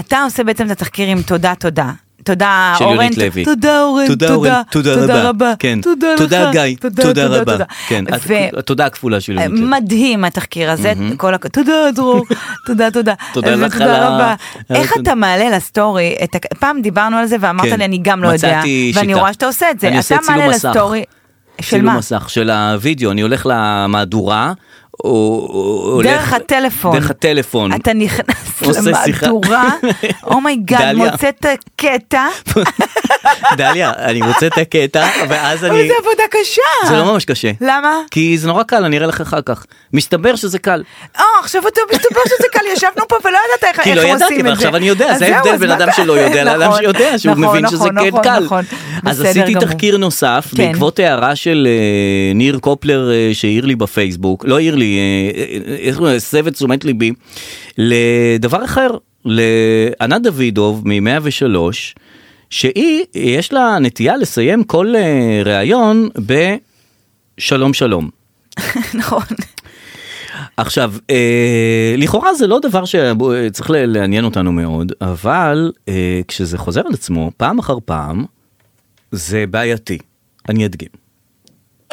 C: אתה עושה בעצם את התחקירים תודה, תודה. תודה
B: של
C: אורן,
B: יונית לוי.
C: תודה אורן,
B: תודה, אורן, תודה רבה. כן.
C: תודה לך,
B: תודה גיא, תודה רבה. כן, את-
C: ו- אה,
B: התודה הכפולה של יונית לוי.
C: מדהים התחקיר הזה, כל הכ... תודה דרור, תודה תודה.
B: תודה
C: אז
B: לך על ה-
C: רבה.
B: על
C: איך
B: ה-
C: אתה מעלה לסטורי, את הכ- פעם דיברנו על זה ואמרת
B: כן.
C: לי אני גם לא יודע,
B: מצאתי
C: ואני
B: שיטה.
C: רואה שאתה עושה את זה,
B: אני עושה
C: אתה
B: צילום
C: מעלה
B: מסך.
C: לסטורי, של
B: צילום
C: מה?
B: מסך של הוידאו, אני הולך למהדורה, או- או...
C: דרך
B: הולך-
C: הטלפון.
B: דרך הטלפון.
C: אתה נכנס
B: נכון. עושה שיחה.
C: למהדורה, Oh אומייגאד,
B: דליה.
C: מוצא את הקטע,
B: דליה, אני מוצא את הקטע, ואז
C: אבל
B: אני...
C: זו עבודה קשה.
B: זה לא ממש קשה.
C: למה?
B: כי זה נורא קל, אני אראה לך אחר כך. מסתבר שזה קל.
C: או, עכשיו אתה מסתבר שזה קל, ישבנו פה ולא ידעת אה, איך איך
B: כי
C: עושים
B: לא
C: את זה.
B: ידעתי, ועכשיו אני יודע,
C: אז
B: זה
C: זהו,
B: ההבדל
C: אז
B: בין
C: מה
B: אדם
C: אתה-
B: שלא יודע לאדם
C: נכון,
B: שיודע, שהוא
C: נכון,
B: מבין שזה
C: נכון,
B: כן
C: נכון,
B: קל.
C: נכון.
B: אז
C: בסדר
B: עשיתי
C: גמור.
B: תחקיר נוסף,
C: כן.
B: בעקבות הערה של אה, ניר קופלר אה, שהעיר לי בפייסבוק, לא העיר לי, אה, אה, איך הוא הסב את תשומת ליבי, לדבר אחר, לענת דוידוב מ-103, שהיא, יש לה נטייה לסיים כל אה, ראיון בשלום שלום.
C: נכון.
B: עכשיו, אה, לכאורה זה לא דבר שצריך ל- לעניין אותנו מאוד, אבל אה, כשזה חוזר על עצמו פעם אחר פעם, זה בעייתי. אני אדגים.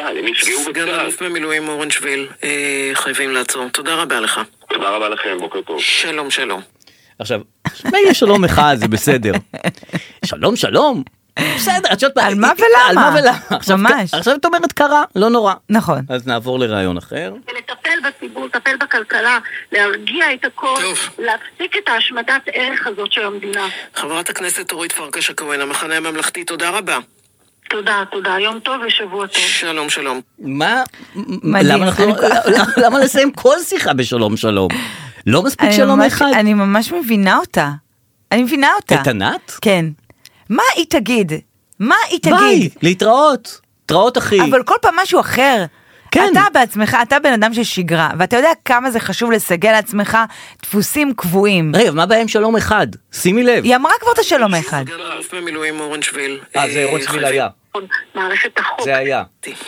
E: אבל הם נפגעו
D: סגן
E: בצה"ל.
D: אלוף במילואים אורנשוויל, אה, חייבים לעצור. תודה רבה לך.
E: תודה רבה לכם, בוקר טוב.
D: שלום, שלום.
B: עכשיו, מילא שלום אחד זה בסדר. שלום שלום. בסדר, את יודעת מה,
C: על מה
B: היא-
C: ולמה?
B: על מה ולמה? עכשיו,
C: ממש.
B: עכשיו את אומרת קרה, לא נורא.
C: נכון.
B: אז נעבור לרעיון אחר.
F: לטפל בציבור, לטפל בכלכלה, להרגיע את הכל,
D: טוב.
F: להפסיק את ההשמדת ערך הזאת של המדינה.
D: חברת הכנסת אורית פרקש הכהן, המחנה הממלכתי, תודה רבה.
F: תודה, תודה. יום טוב ושבוע טוב.
D: שלום, שלום.
B: מה,
C: מדהים,
B: למה אנחנו, לא-
C: אני כל-
B: למה- למה לסיים כל שיחה בשלום שלום? לא מספיק
C: אני
B: שלום
C: ממש-
B: אחד?
C: אני ממש מבינה אותה. אני מבינה אותה.
B: את ענת?
C: כן. מה היא תגיד? מה היא
B: ביי,
C: תגיד?
B: להתראות. להתראות אחי.
C: אבל כל פעם משהו אחר.
B: כן.
C: אתה בעצמך, אתה בן אדם של שגרה, ואתה יודע כמה זה חשוב לסגל לעצמך דפוסים קבועים.
B: רגע, מה הבעיה עם שלום אחד? שימי לב.
C: היא אמרה כבר את השלום האחד.
D: סגן אלוף במילואים אורנשוויל.
B: אה, זה רוץ
D: חייבים-
B: היה.
F: נכון, מערכת החוק.
C: אוקיי.
B: זה היה.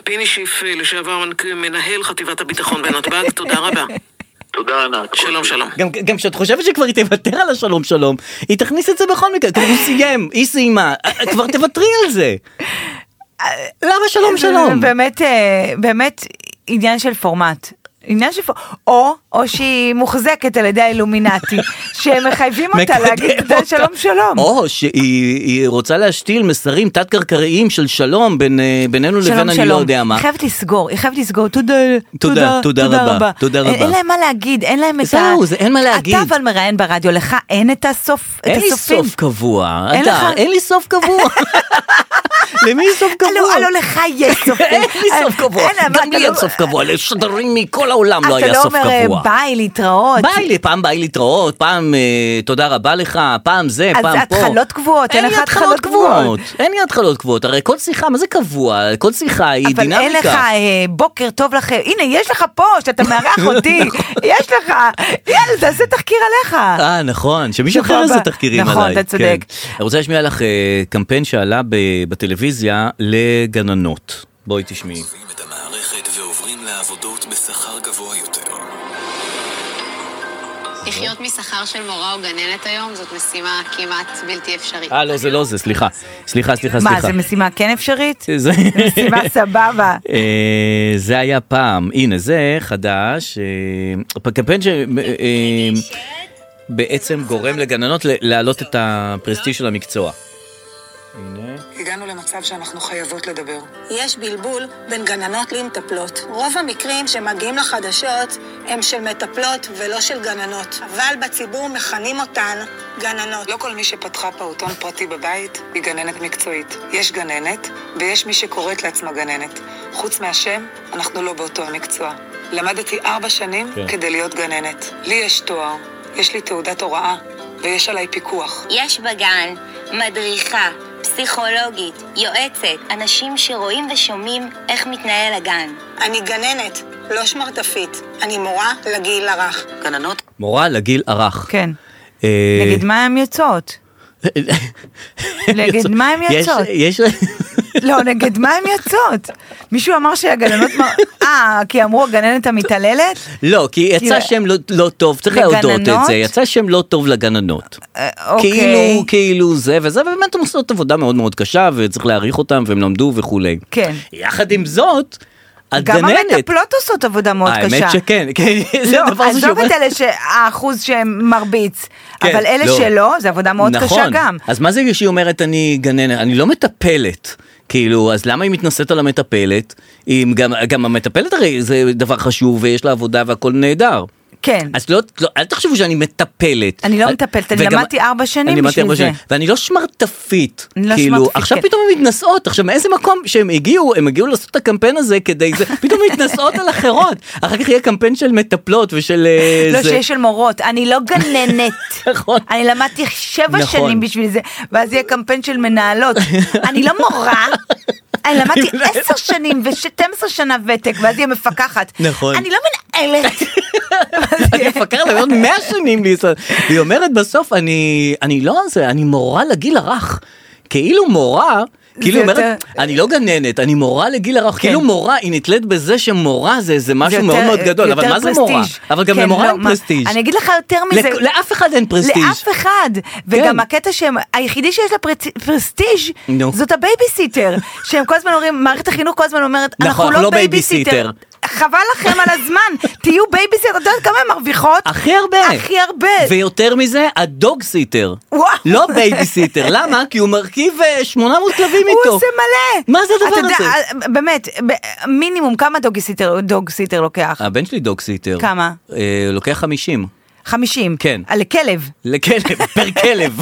D: פיני שיף, אה, לשעבר מנכ- מנהל חטיבת הביטחון בנתב"ג, תודה רבה.
E: תודה ענת.
D: שלום, שלום.
B: גם- גם כשאת חושבת שכבר היא תוותר על השלום שלום, היא תכניס את זה בכל מקרה, כאילו הוא סיים, היא סיימה, אה, כבר תוותרי על זה.
C: אה,
B: למה שלום שלום?
C: זה אה, באמת, אה, באמת עניין של פורמט. עניין של פורמט. או, או שהיא מוחזקת על ידי האילומינטי, שמחייבים אותה
B: מקדם
C: להגיד "אתה
B: אותה.
C: שלום שלום.
B: או שהיא היא רוצה להשתיל מסרים תת-קרקעיים של שלום בין, אה, בינינו לבין אני לא יודע מה.
C: היא חייבת לסגור, היא חייבת לסגור, תודה,
B: תודה, תודה רבה, תודה
C: אין-
B: רבה.
C: אין להם מה להגיד, אין להם את ה...
B: זהו, זה אין מה להגיד.
C: אתה אבל מראיין ברדיו, לך אין את הסוף, את
B: אין לי
C: הסופים.
B: סוף קבוע,
C: אין
B: אדר,
C: לך-
B: אין לי סוף קבוע. למי יש סוף קבוע?
C: הלו, הלו, לך יש סופים.
B: אין לי סוף קבוע,
C: אין להם,
B: גם
C: אתה
B: לי
C: לא-
B: אין סוף קבוע, לשדרים מכל העולם לא
C: אתה
B: היה
C: לא
B: סוף
C: אומר אה,
B: קבוע.
C: ביי, להתראות.
B: ביי לי, פעם ביי להתראות, פעם אה, תודה רבה לך, פעם זה,
C: אז
B: פעם פה.
C: התחלות קבועות, אין
B: לי
C: לך התחלות קבועות.
B: אין לי התחלות קבועות, הרי כל שיחה, מה זה קבוע? כל שיחה היא
C: אבל
B: דינמיקה.
C: אין לך אה, בוקר טוב לכם, הנה יש לך פה שאתה מארח אותי, יש לך, יאללה תעשה תחקיר עליך.
B: נכון. אה, נכון, שמישהו אחר
C: שבוע
B: עשה
C: הבא.
B: תחקירים עליי.
C: נכון, אתה צודק.
B: כן. אני רוצה להשמיע לך אה, קמפיין שעלה ב- בטלוויזיה לגננות. בואי תשמעי.
G: עוזבים את המערכת ועוברים לעבודות בשכר גבוה יותר.
H: לחיות משכר של מורה או גננת היום זאת משימה כמעט בלתי אפשרית.
B: אה, לא, זה לא זה, סליחה. סליחה, סליחה, סליחה.
C: מה, זה משימה כן אפשרית?
B: זה-
C: משימה סבבה.
B: אה, זה היה פעם, הנה זה חדש, אה, קמפיין שבעצם גורם לגננות ל- להעלות את הפרסטיג' של המקצוע. הנה.
I: הגענו למצב שאנחנו חייבות לדבר.
J: יש בלבול בין גננות למטפלות. רוב המקרים שמגיעים לחדשות הם של מטפלות ולא של גננות, אבל בציבור מכנים אותן גננות.
I: לא כל מי שפתחה פעוטון פרטי בבית היא גננת מקצועית. יש גננת, ויש מי שקוראת לעצמה גננת. חוץ מהשם, אנחנו לא באותו המקצוע. למדתי ארבע שנים
B: כן.
I: כן. כדי להיות גננת. לי יש תואר, יש לי תעודת הוראה, ויש עליי פיקוח.
K: יש בגן מדריכה, פסיכולוגית, יועצת, אנשים שרואים ושומעים איך מתנהל הגן.
J: אני גננת, לא שמרטפית. אני מורה לגיל הרך.
I: גננות
B: מורה לגיל הרך.
C: כן.
B: אה.
C: נגיד מה הן יוצאות? נגד מה הן יוצאות?
B: יש...
C: לא, נגד מה הן יוצאות? מישהו אמר שהגננות... מ- אה, כי אמרו הגננת המתעללת?
B: לא, כי יצא
C: כאילו-
B: שם לא- לא טוב, צריך להודות את
C: לגננות?
B: זה, יצא שם לא טוב לגננות.
C: אה, אוקיי.
B: כאילו, כאילו זה וזה, ובאמת הן עושות עבודה מאוד מאוד קשה, וצריך להעריך אותם, והם למדו וכולי.
C: כן.
B: יחד עם זאת, הגננת...
C: גם המטפלות עושות עבודה מאוד קשה.
B: האמת שכן, כן, זה
C: לא,
B: הדבר הזה
C: עזוב
B: שאומר-
C: את אלה שהאחוז שהם מרביץ,
B: כן,
C: אבל אלה
B: לא.
C: שלא, זו עבודה מאוד קשה גם.
B: נכון. אז מה זה שהיא אומרת אני גננת? אני לא מטפלת. כאילו, אז למה היא מתנשאת על המטפלת? אם גם, גם המטפלת הרי זה דבר חשוב ויש לה עבודה והכל נהדר.
C: כן.
B: אז לא, לא, אל תחשבו שאני מטפלת.
C: אני לא
B: אל-
C: מטפלת, אני
B: וגם-
C: למדתי ארבע שנים
B: אני למדתי
C: בשביל
B: ארבע
C: זה.
B: שנים, ואני לא שמרטפית.
C: אני לא
B: כאילו,
C: שמרטפית,
B: עכשיו
C: כן.
B: פתאום הן מתנשאות. עכשיו, מאיזה מקום שהם הגיעו, הם הגיעו לעשות את הקמפיין הזה כדי זה, פתאום מתנשאות על אחרות. אחר כך יהיה קמפיין של מטפלות ושל אה,
C: לא
B: זה.
C: שיש של מורות, אני לא גננת.
B: נכון.
C: אני למדתי שבע
B: נכון.
C: שנים בשביל זה, ואז יהיה קמפיין של מנהלות. אני לא מורה. אני למדתי עשר שנים ו-12 שנה ותק, ואז היא המפקחת.
B: נכון.
C: אני לא מנהלת.
B: אני
C: כן.
B: מפקר עליו עוד 100 שנים לישראל. והיא אומרת בסוף, אני, אני לא זה, אני מורה לגיל הרך. כאילו מורה, כאילו היא
C: יותר- כן.
B: אומרת, אני לא גננת, אני מורה לגיל הרך. כאילו מורה, היא נתלית בזה שמורה זה איזה משהו
C: יותר-
B: מאוד מאוד גדול, אבל
C: יותר
B: מה זה מורה?
C: פרסטיג'.
B: אבל גם
C: כן,
B: למורה
C: לא,
B: אין
C: מה-
B: פרסטיג'.
C: אני אגיד לך יותר מזה.
B: לכ- לא, לאף אחד אין פרסטיג'.
C: לאף אחד.
B: כן.
C: וגם הקטע שהם, היחידי שיש לה פרצ- פרסטיג'
B: נו.
C: זאת הבייביסיטר. שהם כל הזמן אומרים, מערכת החינוך כל הזמן אומרת,
B: נכון,
C: אנחנו
B: אנחנו לא
C: לא בייביסיטר.
B: בייביסיטר.
C: חבל לכם על הזמן, תהיו בייביסיטר, את יודעת כמה הן מרוויחות?
B: הכי הרבה.
C: הכי הרבה.
B: ויותר מזה, הדוג סיטר.
C: וואו.
B: לא בייביסיטר, למה? כי הוא מרכיב אה, 800 כלבים איתו.
C: הוא עושה מלא.
B: מה זה הדבר
C: אתה יודע,
B: הזה?
C: אה, באמת, ב- מינימום כמה דוג-סיטר דוג-סיטר לוקח?
B: הבן שלי דוג סיטר.
C: כמה?
B: אה, לוקח 50.
C: 50.
B: כן.
C: על כלב.
B: לכלב, פר כלב.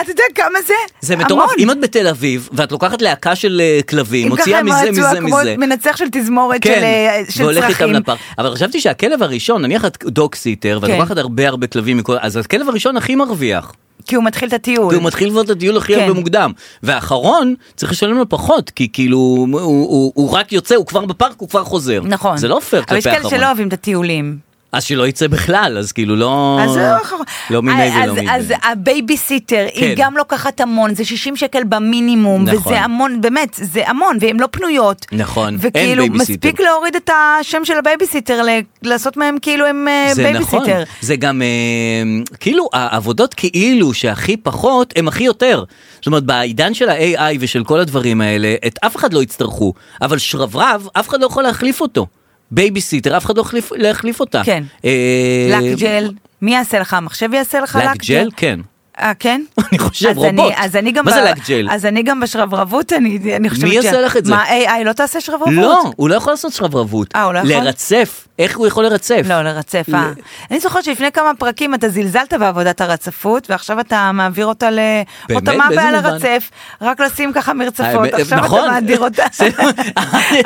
C: אתה יודע כמה זה?
B: זה מטורף,
C: המון.
B: אם את בתל אביב, ואת לוקחת להקה של אה, כלבים,
C: אם ככה
B: מוציאה
C: הם
B: מזה,
C: רצו,
B: מזה,
C: כמו
B: מזה.
C: מנצח של תזמורת של אה, של צרכים.
B: והולכת איתם לפארק. אבל חשבתי שהכלב הראשון, נניח את דוג סיטר, ואת
C: כן.
B: לוקחת הרבה הרבה כלבים מכל, אז הכלב הראשון הכי מרוויח.
C: כי הוא מתחיל את הטיול.
B: כי הוא מתחיל לבנות את הטיול הכי
C: כן.
B: הרבה מוקדם. והאחרון, צריך לשלם לו פחות, כי כאילו, הוא- הוא הוא רק יוצא, הוא כבר בפארק, הוא כבר חוזר.
C: נכון.
B: זה לא פייר
C: אבל
B: כלפי
C: יש כאלה
B: האחרון.
C: שלא אוהבים את הטיולים.
B: אז שלא יצא בכלל, אז כאילו לא...
C: אז זה לא אחרון.
B: לא מיני
C: אז-
B: ולא
C: אז-
B: מיני.
C: אז הבייביסיטר, היא
B: כן.
C: גם לוקחת המון, זה 60 שקל במינימום,
B: נכון.
C: וזה המון, באמת, זה המון, והן לא פנויות.
B: נכון, אין
C: וכאילו,
B: בייביסיטר.
C: מספיק להוריד את השם של הבייביסיטר, ל- לעשות מהם כאילו הם אה,
B: זה נכון,
C: בייביסיטר.
B: זה גם אה, כאילו העבודות כאילו שהכי פחות הם הכי יותר. זאת אומרת בעידן של ה-AI ושל כל הדברים האלה את אף אחד לא יצטרכו, אבל שרברב אף אחד לא יכול להחליף אותו. בייביסיטר אף אחד לא יכול להחליף אותה.
C: כן.
B: אה,
C: לק ג'ל, מי יעשה לך? המחשב יעשה לך לק
B: לק ג'ל? כן.
C: אה, כן?
B: אני חושב,
C: אז אני-
B: רובוט.
C: אז אני גם...
B: מה זה
C: ב-
B: לק ג'ל?
C: אז אני גם בשרברבות, אני אני חושבת...
B: יעשה לך את זה?
C: מה, AI לא תעשה שרברבות?
B: לא, הוא לא יכול לעשות שרברבות.
C: אה, הוא לא יכול?
B: לרצף. איך הוא יכול לרצף?
C: לא, לרצף, אה. אני זוכרת שלפני כמה פרקים אתה זלזלת בעבודת הרצפות, ועכשיו אתה מעביר אותה ל...
B: באמת?
C: אותה מה
B: באיזה
C: הבעיה
B: מובן?
C: לרצף? רק לשים ככה מרצפות,
B: האמת,
C: עכשיו
B: נכון.
C: אתה מאדיר אותה.
B: זה-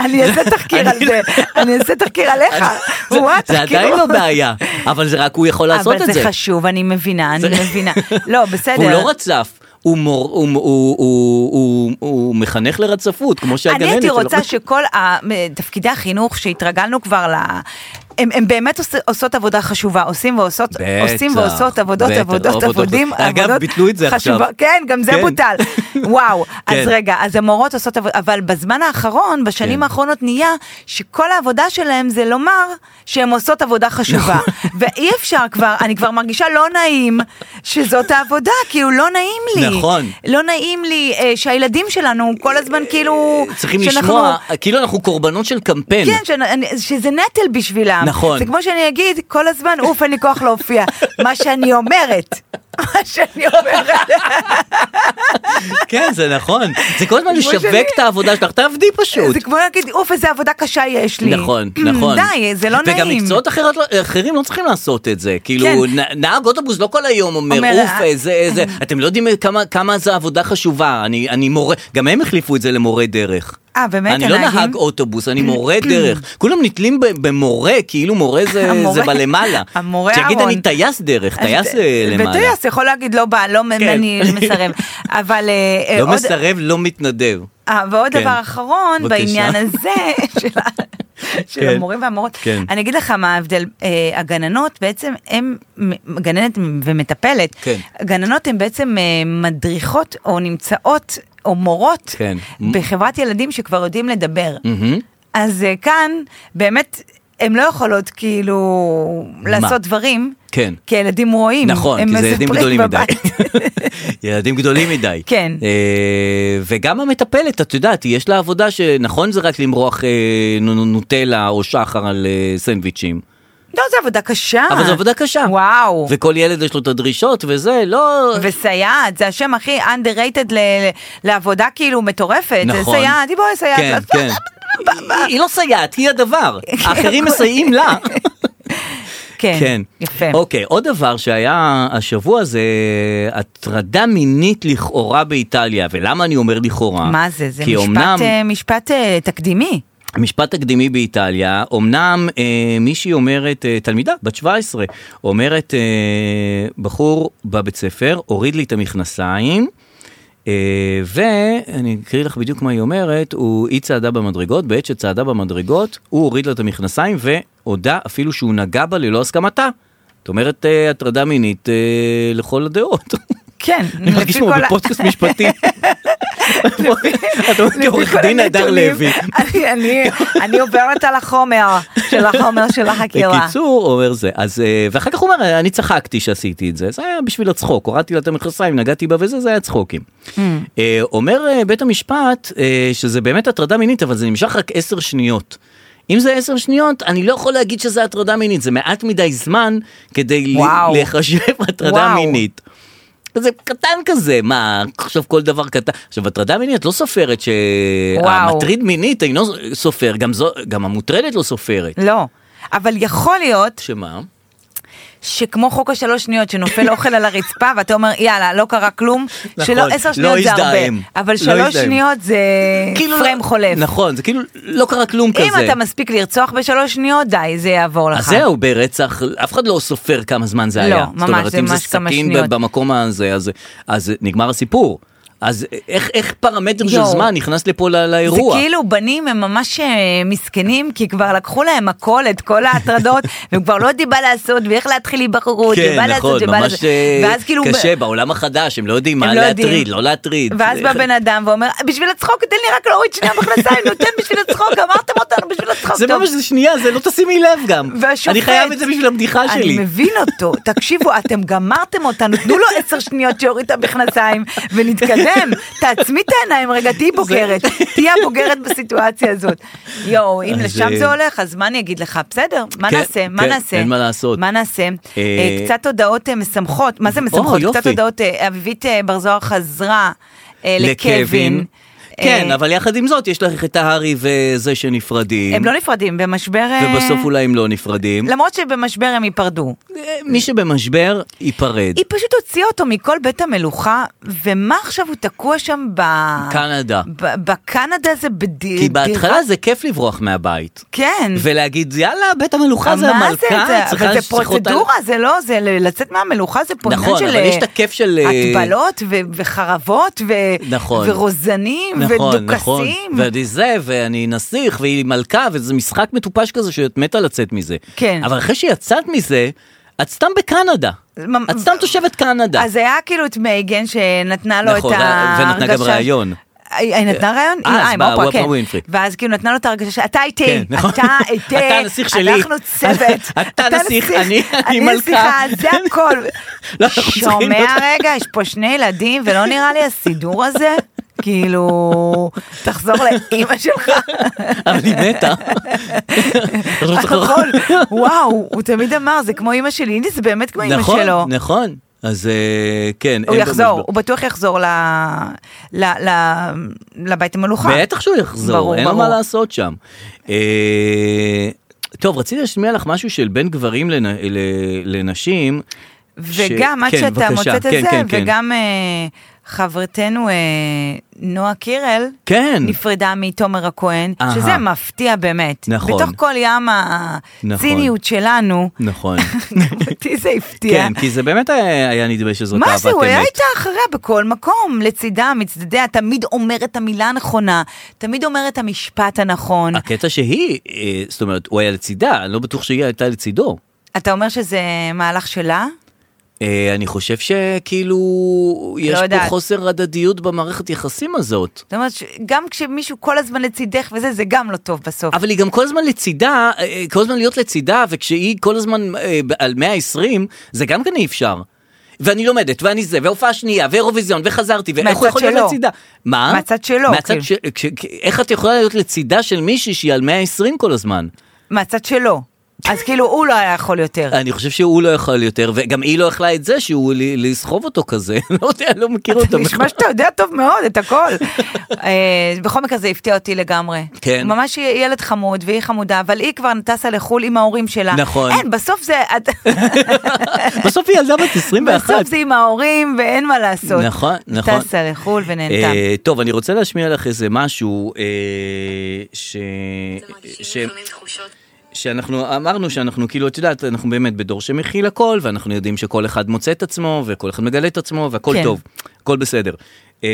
C: אני אעשה תחקיר על
B: אני-
C: זה, אני אעשה תחקיר עליך.
B: זה-
C: וואי,
B: זה
C: תחקיר.
B: עדיין לא בעיה, אבל זה רק הוא יכול לעשות את זה.
C: כאילו. אבל זה חשוב, אני מבינה, אני
B: זה-
C: מבינה. לא, בסדר.
B: הוא לא רצף. הוא, מור, הוא, הוא, הוא, הוא, הוא מחנך לרצפות, כמו שהגננת
C: אני הייתי
B: שלו.
C: רוצה שכל ה- תפקידי החינוך שהתרגלנו כבר ל... הם, הם באמת עוש, עושות עבודה חשובה, עושים ועושות,
B: בטח,
C: עושים ועושות עבודות,
B: בטח,
C: עבודות,
B: עבודות,
C: עבודים,
B: עבודות. אגב,
C: עבודות
B: ביטלו את זה עכשיו.
C: כן, גם זה
B: כן.
C: בוטל. וואו,
B: כן.
C: אז רגע, אז המורות עושות עבודה, אבל בזמן האחרון, בשנים
B: כן.
C: האחרונות נהיה שכל העבודה שלהם זה לומר שהן עושות עבודה חשובה.
B: נכון.
C: ואי אפשר כבר, אני כבר מרגישה לא נעים שזאת העבודה, כאילו לא נעים לי.
B: נכון.
C: לא נעים לי אה, שהילדים שלנו כל הזמן כאילו...
B: צריכים
C: שאנחנו-
B: לשמוע, כאילו אנחנו קורבנות של קמפיין.
C: כן, שאני- שזה נטל בשבילם.
B: נכון.
C: זה כמו שאני אגיד, כל הזמן, אוף, אין לי כוח להופיע. מה שאני אומרת. מה שאני אומרת.
B: כן, זה נכון. זה כל הזמן
C: כמו שאני-
B: לשווק את העבודה שלך, תעבדי פשוט.
C: זה כמו להגיד, אוף, איזה עבודה קשה יש לי.
B: נכון, נכון.
C: די, זה לא נעים.
B: וגם מקצועות אחרות לא- אחרים לא צריכים לעשות את זה. כאילו,
C: כן.
B: נ- נהג אוטובוס לא כל היום אומר,
C: אומר,
B: אוף,
C: "אה,
B: איזה, איזה, אתם לא יודעים כמה- כמה זה עבודה חשובה. אני אני מורה, גם הם החליפו את זה למורה דרך.
C: אה, באמת,
B: אני לא
C: הנהגים?
B: נהג אוטובוס, אני מורה דרך. כולם נתלים ב- במורה, כאילו מורה זה
C: המורה-
B: זה בלמעלה.
C: המורה
B: שיגיד,
C: אהרון.
B: אני טייס דרך, טייס אה, למעלה.
C: וטייס יכול להגיד, לא בא, לא,
B: כן.
C: אני מסרב. אבל אה, אה,
B: לא
C: עוד-
B: מסרב, לא מתנדב.
C: אה, ועוד
B: כן.
C: דבר אחרון
B: בבקשה.
C: בעניין הזה של ה- של
B: כן.
C: המורים והמורות,
B: כן.
C: אני אגיד לך מה ההבדל, אה, הגננות בעצם, הן מ- גננת ומטפלת,
B: כן.
C: גננות הן בעצם אה, מדריכות או נמצאות או מורות
B: כן.
C: בחברת ילדים שכבר יודעים לדבר.
B: מהמם.
C: אז אה, כאן באמת הן לא יכולות כאילו לעשות דברים,
B: כן.
C: כי הילדים רואים,
B: נכון,
C: הם
B: כי זה ילדים
C: מספרים
B: גדולים מדי.
C: בבית.
B: ילדים גדולים מדי.
C: כן.
B: אה, וגם המטפלת, את יודעת, יש לה עבודה שנכון זה רק למרוח אה, נו- נו- נוטלה או שחר על אה, סנדוויצ'ים.
C: לא, זו עבודה קשה.
B: אבל זו עבודה קשה.
C: וואו.
B: וכל ילד יש לו את הדרישות וזה, לא...
C: וסייעת, זה השם הכי underrated ל- ל- לעבודה כאילו מטורפת. זה
B: נכון.
C: סייעת, היא בואי סייעת. כן,
B: כן,
C: לא-
B: כן. היא- היא לא סייעת, היא הדבר. האחרים
C: נכון.
B: מסייעים לה.
C: כן,
B: כן.
C: יפה.
B: אוקיי, עוד דבר שהיה השבוע זה הטרדה מינית לכאורה באיטליה. ולמה אני אומר לכאורה?
C: מה זה? זה
B: כי
C: משפט,
B: אומנם-
C: אה, משפט אה, תקדימי.
B: משפט תקדימי באיטליה, אמנם אה, מישהי אומרת, אה, תלמידה בת 17, אומרת, אה, בחור בא בית ספר, הוריד לי את המכנסיים, אה, ואני אקריא לך בדיוק מה היא אומרת, הוא, היא צעדה במדרגות, בעת שצעדה במדרגות, הוא הוריד לה את המכנסיים והודה אפילו שהוא נגע בה ללא הסכמתה. זאת אומרת, אה, הטרדה מינית אה, לכל הדעות.
C: כן,
B: אני מרגיש כמו
C: כל ה-
B: בפודקאסט משפטי. אתה אומר, עורך
C: כל
B: דין הדר
C: הנתונים,
B: לוי.
C: אני- אני- אני עוברת על החומר של החומר של החקירה.
B: בקיצור, אומר זה. אז, אה, ואחר כך הוא אומר, אני צחקתי שעשיתי את זה. זה היה בשביל הצחוק, הורדתי לה את המכנסיים, נגעתי בה וזה, זה היה צחוקים.
L: Hmm.
B: אה, אומר אה, בית המשפט אה, שזה באמת הטרדה מינית, אבל זה נמשך רק עשר שניות. אם זה עשר שניות, אני לא יכול להגיד שזה הטרדה מינית, זה מעט מדי זמן כדי ל-
L: וואו.
B: לחשב הטרדה
L: וואו.
B: מינית. זה קטן כזה, מה, עכשיו כל דבר קטן. עכשיו, הטרדה מינית לא סופרת שהמטריד מינית אינו סופר, גם, זו, גם המוטרדת לא סופרת.
C: לא. אבל יכול להיות
B: שמה?
C: שכמו חוק השלוש שניות שנופל אוכל על הרצפה ואתה אומר יאללה לא קרה כלום,
B: נכון,
C: שלא עשר
B: לא
C: שניות זה הרבה,
B: הזדהם.
C: אבל
B: לא
C: שלוש
B: הזדהם.
C: שניות זה
B: כאילו
C: פריים
B: לא-
C: חולף.
B: נכון, זה כאילו לא קרה כלום כזה.
C: אם אתה מספיק לרצוח בשלוש שניות, די, זה יעבור לך.
B: אז זהו, ברצח, אף אחד לא סופר כמה זמן זה
C: לא,
B: היה.
C: ממש, זה ממש כמה
B: זאת אומרת, אם זה
C: שניות.
B: סכין ב- במקום הזה, אז, אז נגמר הסיפור. אז איך, איך פרמטר של
C: יואו.
B: זמן נכנס לפה לא,
C: זה
B: לאירוע?
C: כאילו בנים הם ממש אה, מסכנים, כי כבר לקחו להם הכל, את כל ההטרדות, והם כבר לא יודעים מה לעשות, ואיך להתחיל היבחרות,
B: כן,
C: ומה
B: נכון,
C: לעשות, ומה
B: ממש
C: לעשות.
B: אה,
C: ואז כאילו... ב-
B: קשה, בעולם החדש, הם לא יודעים מה
C: לא יודעים.
B: להטריד, לא להטריד.
C: ואז בא
B: איך-
C: בן אדם ואומר, בשביל הצחוק, תן לי רק להוריד שנייה מכנסיים, נו, תן בשביל הצחוק, אמרתם אותנו בשביל הצחוק.
B: זה
C: טוב.
B: ממש, זה שנייה, זה לא תשימי לב גם.
C: והשופט,
B: אני חייב את זה בשביל הבדיחה שלי.
C: אני מבין אותו, תקשיבו, אתם גמרתם אותנו, תנו לו עשר שניות שיוריד את המכנסיים ונתקדם, תעצמי את העיניים רגע, תהיי בוגרת, תהיי הבוגרת בסיטואציה הזאת. יואו, אם
B: אז,
C: לשם
B: אה,
C: זה הולך, אז מה אני אגיד לך, בסדר, מה
B: כן,
C: נעשה, מה
B: כן,
C: נעשה?
B: אין מה לעשות.
C: מה נעשה?
B: אה,
C: אה, קצת הודעות אה, משמחות, מה זה משמחות?
B: יופי.
C: קצת הודעות, אה, אביבית אה, בר זוהר חזרה אה, לקווין.
B: כן,
C: אה,
B: אבל יחד עם זאת, יש לך את ההארי וזה שנפרדים.
C: הם לא נפרדים, במשבר... אה,
B: ובסוף אולי הם לא נפרדים.
C: למרות שבמשבר הם ייפרדו.
B: מי שבמשבר ייפרד.
C: היא פשוט הוציאה אותו מכל בית המלוכה, ומה עכשיו הוא תקוע שם ב...
B: קנדה.
C: ב- בקנדה זה בדירה.
B: כי בהתחלה זה כיף לברוח מהבית.
C: כן.
B: ולהגיד יאללה בית המלוכה זה
C: מה
B: המלכה,
C: זה?
B: צריכה-
C: אבל זה
B: צריכות-
C: פרוצדורה, זה לא, זה ל- לצאת מהמלוכה, זה פה עניין
B: נכון,
C: של...
B: אבל יש את הכיף של, אה,
C: הטבלות ו- וחרבות ו...
B: נכון.
C: ורוזנים
B: נכון, נכון,
C: ודוכסים.
B: ואני זה, ואני נסיך, והיא מלכה, וזה משחק מטופש כזה שאת מתה לצאת מזה.
C: כן.
B: אבל אחרי שיצאת מזה, את סתם בקנדה.
C: ממ-
B: את סתם תושבת קנדה.
C: אז היה כאילו את מייגן שנתנה לו
B: נכון,
C: את ההרגשה...
B: ונתנה גם ראיון.
C: היא היא נתנה רעיון?
B: אה, אז
C: עם
B: מה,
C: אופרה,
B: אופרה
C: כן.
B: ווינפרי.
C: ואז כאילו נתנה לו את ההרגשה שאתה
B: כן,
C: איתי,
B: נכון.
C: אתה איתי,
B: אתה הנסיך שלי.
C: אנחנו צוות,
B: אתה נסיך, אני- אני מלכה.
C: נסיכה, זה הכל.
B: לא, אנחנו צריכים
C: שומע
B: להיות-
C: רגע, יש פה שני ילדים, ולא נראה לי הסידור הזה, כאילו, תחזור לאימא שלך.
B: אבל היא מתה.
C: נכון, וואו, הוא תמיד אמר, זה כמו אימא שלי, הנה זה באמת כמו אימא
B: נכון,
C: שלו.
B: נכון. אז אה, כן.
C: הוא
B: אין בו
C: יחזור,
B: משבר.
C: הוא בטוח יחזור ל- ל- ל- לבית המלוכה.
B: בטח שהוא יחזור,
C: ברור,
B: אין לו
C: ברור.
B: מה לעשות שם. אה, טוב, רציתי להשמיע לך משהו של בין גברים לנ- ל- לנשים. ש-
C: וגם עד
B: כן,
C: שאתה
B: בבקשה,
C: מוצא את
B: כן,
C: זה,
B: כן, כן.
C: וגם אה, חברתנו אה, נועה קירל,
B: כן.
C: נפרדה מתומר הכהן,
B: אהה.
C: שזה מפתיע באמת.
B: נכון.
C: בתוך כל ים הציניות שלנו,
B: נכון,
C: אותי זה הפתיע.
B: כן, כי זה באמת היה היה נדמה שזאת אהבת אמת.
C: מה זה, הוא היה איתה אחריה בכל מקום, לצידה, מצדדיה, תמיד אומר את המילה הנכונה, תמיד אומר את המשפט הנכון.
B: הקטע שהיא, אה, זאת אומרת, הוא היה לצידה, אני לא בטוח שהיא הייתה לצידו.
C: אתה אומר שזה מהלך שלה?
B: אה, אני חושב שכאילו, יש פה
C: לא יודעת.
B: חוסר הדדיות במערכת יחסים הזאת.
C: זאת אומרת, גם כשמישהו כל הזמן לצידך וזה, זה גם לא טוב בסוף.
B: אבל היא גם כל הזמן לצידה, אה, אה, כל הזמן להיות לצידה, וכשהיא כל הזמן אה, ב- על 120, זה גם כן אי אפשר. ואני לומדת, ואני זה, והופעה שנייה, ואירוויזיון, וחזרתי, ואיך הוא
C: מהצד
B: יכול להיות
C: שלו.
B: לצידה? מה?
C: מהצד שלו,
B: מהצד
C: כאילו.
B: של... כש- כ- איך את יכולה להיות לצידה של מישהי שהיא על 120 כל הזמן?
C: מהצד שלו. אז כאילו, הוא לא היה יכול יותר.
B: אני חושב שהוא לא יכל יותר, וגם היא לא יכלה את זה שהוא ל- לסחוב אותו כזה, לא יודע, לא מכיר אותו בכלל.
C: נשמע שאתה יודע טוב מאוד את הכל. אה, בכל מקרה זה הפתיע אותי לגמרי.
B: כן.
C: ממש היא ילד חמוד והיא חמודה, אבל היא כבר טסה לחו"ל עם ההורים שלה.
B: נכון.
C: אין, בסוף זה... את-
B: בסוף היא ילדה בת 21.
C: בסוף זה עם ההורים ואין מה לעשות.
B: נכון, נכון.
C: טסה לחו"ל ונהנתה.
B: אה, טוב, אני רוצה להשמיע לך איזה משהו אה, ש... ש... שאנחנו אמרנו שאנחנו כאילו, את יודעת, אנחנו באמת בדור שמכיל הכל, ואנחנו יודעים שכל אחד מוצא את עצמו, וכל אחד מגלה את עצמו, והכל
L: כן.
B: טוב, הכל בסדר. אה,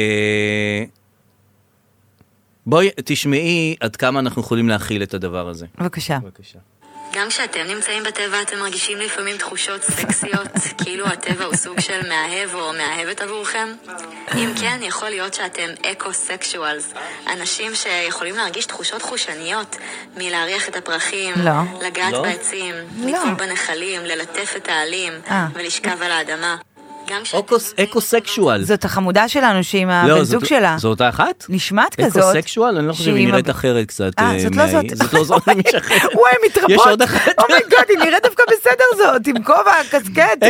B: בואי תשמעי עד כמה אנחנו יכולים להכיל את הדבר הזה.
C: בבקשה.
M: גם כשאתם נמצאים בטבע אתם מרגישים לפעמים תחושות סקסיות, כאילו הטבע הוא סוג של מאהב או מאהבת עבורכם? אם כן, יכול להיות שאתם אקו-סקשואלס, אנשים שיכולים להרגיש תחושות חושניות מלהריח את הפרחים,
N: לא.
M: לגעת
N: לא?
M: בעצים,
N: לא.
M: לטבול בנחלים, ללטף את העלים
C: אה.
M: ולשכב על האדמה. גם כש...
B: אוקוס- אקו-סקשואל.
C: זאת החמודה שלנו שהיא עם הבן
B: לא,
C: זוג
B: זאת-
C: שלה.
B: זו אותה אחת?
C: נשמעת כזאת.
B: אקו-סקשואל? אני לא חושב, היא
C: שהיא
B: נראית
C: מב-
B: אחרת קצת.
C: אה, זאת לא
B: מההיא.
C: זאת.
B: זאת לא זאת, אני משחרר.
C: וואי, מתרבות.
B: יש עוד אחת.
C: אומייגאד, היא נראית דווקא בסדר זאת, עם כובע, קסקט,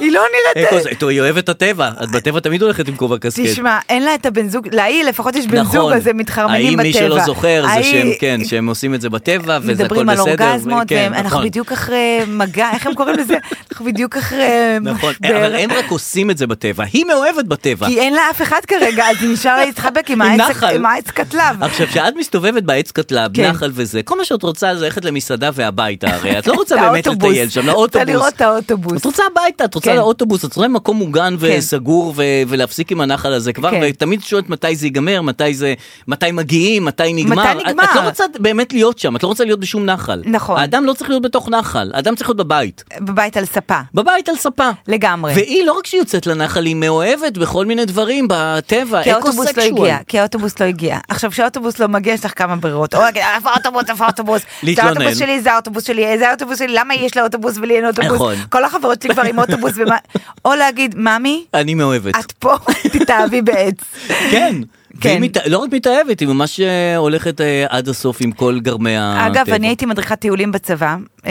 C: היא לא נראית...
B: אקו, זה- טוב, היא אוהבת את הטבע, את בטבע תמיד הולכת עם כובע קסקט.
C: תשמע, אין לה את הבן זוג, להיא לפחות יש בן זוג,
B: נכון.
C: אז הם מתחרמנים בטבע.
B: האם מי שלא זוכר זה
C: ההיא-
B: שהם, כן, שהם עושים את זה בטבע וזה הכל בסדר.
C: מדברים על אורגזמות,
B: כן,
C: והם- אנחנו
B: נכון,
C: בדיוק אחרי מגע, איך הם קוראים לזה? אנחנו בדיוק אחרי
B: נכון,
C: משבר.
B: אבל הם רק עושים את זה בטבע, היא מאוהבת בטבע.
C: כי אין לה אף אחד כרגע, אז היא נשארה להתחבק עם
B: עם
C: העץ-
B: נחל.
C: עם העץ קטלב.
B: עכשיו, כשאת מסתובבת בעץ קטלב,
C: כן.
B: נחל וזה, כל מה שאת רוצה זה ללכת למסעדה והביתה, הרי את לא רוצה באמת
C: לאוטובוס.
B: לטייל שם,
C: רוצה
B: לאוטובוס.
C: לראות את האוטובוס.
B: את רוצה הביתה, את רוצה
C: כן.
B: לאוטובוס, את רוצה מקום מוגן
C: כן.
B: וסגור ו- ולהפסיק עם הנחל הזה כבר,
C: כן.
B: ותמיד שואלת מתי זה ייגמר, מתי זה, מתי מגיעים, מתי נגמר. את-
C: נגמר.
B: את לא רוצה באמת להיות שם, את לא רוצה להיות בשום נחל.
C: נכון.
B: האדם לא צריך להיות בתוך נחל, האדם צריך להיות בבית.
C: בבית על ספה.
B: בבית על ספה.
C: לגמרי.
B: והיא לא רק שהיא יוצאת לנחל, היא מאוהבת בכל מיני דברים, בטבע,
C: כי האוטובוס לא
B: אקו-סקשואל.
C: הגיע, כי האוטובוס לא הגיע. עכשיו, כשהאוטובוס לא מגיע, יש לך כמה ברירות. או, להגיד, איפה האוטובוס, איפה האוטובוס? זה
B: להתלונן.
C: האוטובוס שלי, זה האוטובוס שלי, זה האוטובוס שלי, למה יש לה אוטובוס ולי אין
B: נכון.
C: אוטובוס? כל החברות שלי כבר עם אוטובוס. ומה- או להגיד, ממי,
B: אני מאוהבת.
C: את פה, תתאהבי בעץ.
B: כן.
C: כן.
B: והיא מת... לא רק מתאהבת, היא ממש אה, הולכת אה, עד הסוף עם כל גרמי הטבע.
C: אגב, אני הייתי מדריכת טיולים בצבא. אה,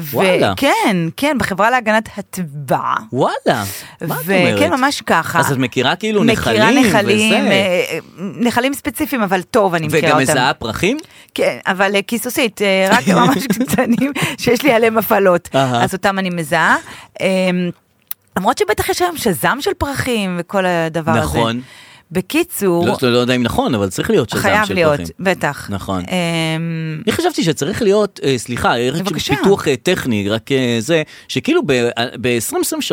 C: ו-
B: וואלה.
C: כן, כן, בחברה להגנת הטבע.
B: וואלה, מה את אומרת?
C: וכן, ממש ככה.
B: אז את מכירה כאילו
C: מכירה
B: נחלים
C: נחלים,
B: וזה.
C: אה, נחלים ספציפיים, אבל טוב, אני מכירה
B: וגם
C: אותם.
B: מזהה פרחים?
C: כן, אבל אה, כיסוסית, אה, רק ממש קטנים שיש לי עליהם הפעלות,
B: אהה.
C: אז אותם אני מזהה. אה, למרות שבטח יש היום שז"ם של פרחים וכל הדבר הזה.
B: נכון.
C: בקיצור,
B: לא, לא יודע אם נכון, אבל צריך להיות שזם של פרחים.
C: חייב להיות, בטח.
B: נכון.
C: אמ,
B: אני חשבתי שצריך להיות, אה, סליחה, בבקשה. פיתוח אה, טכני, רק אה, זה, שכאילו אה, ב-2023,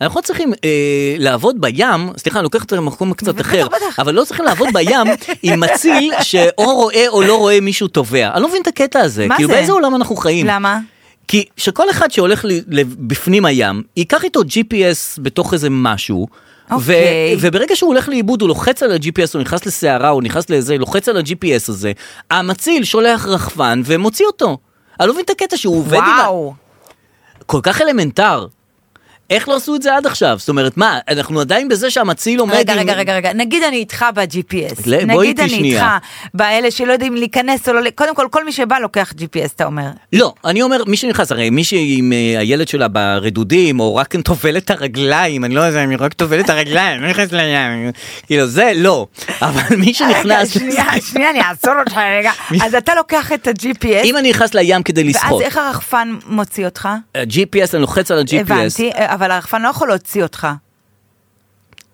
B: אנחנו לא צריכים אה, לעבוד בים, סליחה, אני לוקח את המקום קצת אחר, אבל לא צריכים לעבוד בים עם מציל שאו רואה או לא רואה מישהו טובע. אני לא מבין את הקטע הזה,
C: מה
B: כאילו
C: זה?
B: באיזה עולם אנחנו חיים.
C: למה?
B: כי שכל אחד שהולך ל- ל- בפנים הים, ייקח איתו GPS בתוך איזה משהו.
C: אוקיי.
B: וברגע שהוא הולך לאיבוד, הוא לוחץ על ה-GPS, הוא נכנס לסערה, הוא נכנס לאיזה, לוחץ על ה-GPS הזה, המציל שולח רחפן ומוציא אותו. אני לא מבין את הקטע שהוא עובד עם ה...
C: וואו.
B: כל כך אלמנטר. איך לא עשו את זה עד עכשיו? זאת אומרת, מה, אנחנו עדיין בזה שהמציל עומד
C: רגע,
B: עם-
C: רגע, רגע, רגע, נגיד אני איתך ב-GPS.
B: ל- בואי
C: נגיד
B: איתי
C: אני איתך
B: שנייה.
C: באלה שלא יודעים להיכנס או לא, ל- קודם כל, כל מי שבא לוקח GPS, אתה אומר.
B: לא, אני אומר, מי שנכנס, הרי מי שעם אה, הילד שלה ברדודים, או רק טובל את הרגליים, אני לא יודע אם היא רק טובל את הרגליים, לא נכנס לים, כאילו זה לא, אבל מי
C: רגע,
B: שנכנס,
C: שנייה, שנייה, אני אעצור אותך רגע. אז אתה לוקח את ה-GPS.
B: אם אני נכנס לים כדי
C: ואז
B: לשחות,
C: איך הרחפן מוציא אותך?
B: ה-GPS, אני לוחץ על ה-GPS,
C: הבנתי, אבל הרחפן לא יכול להוציא אותך.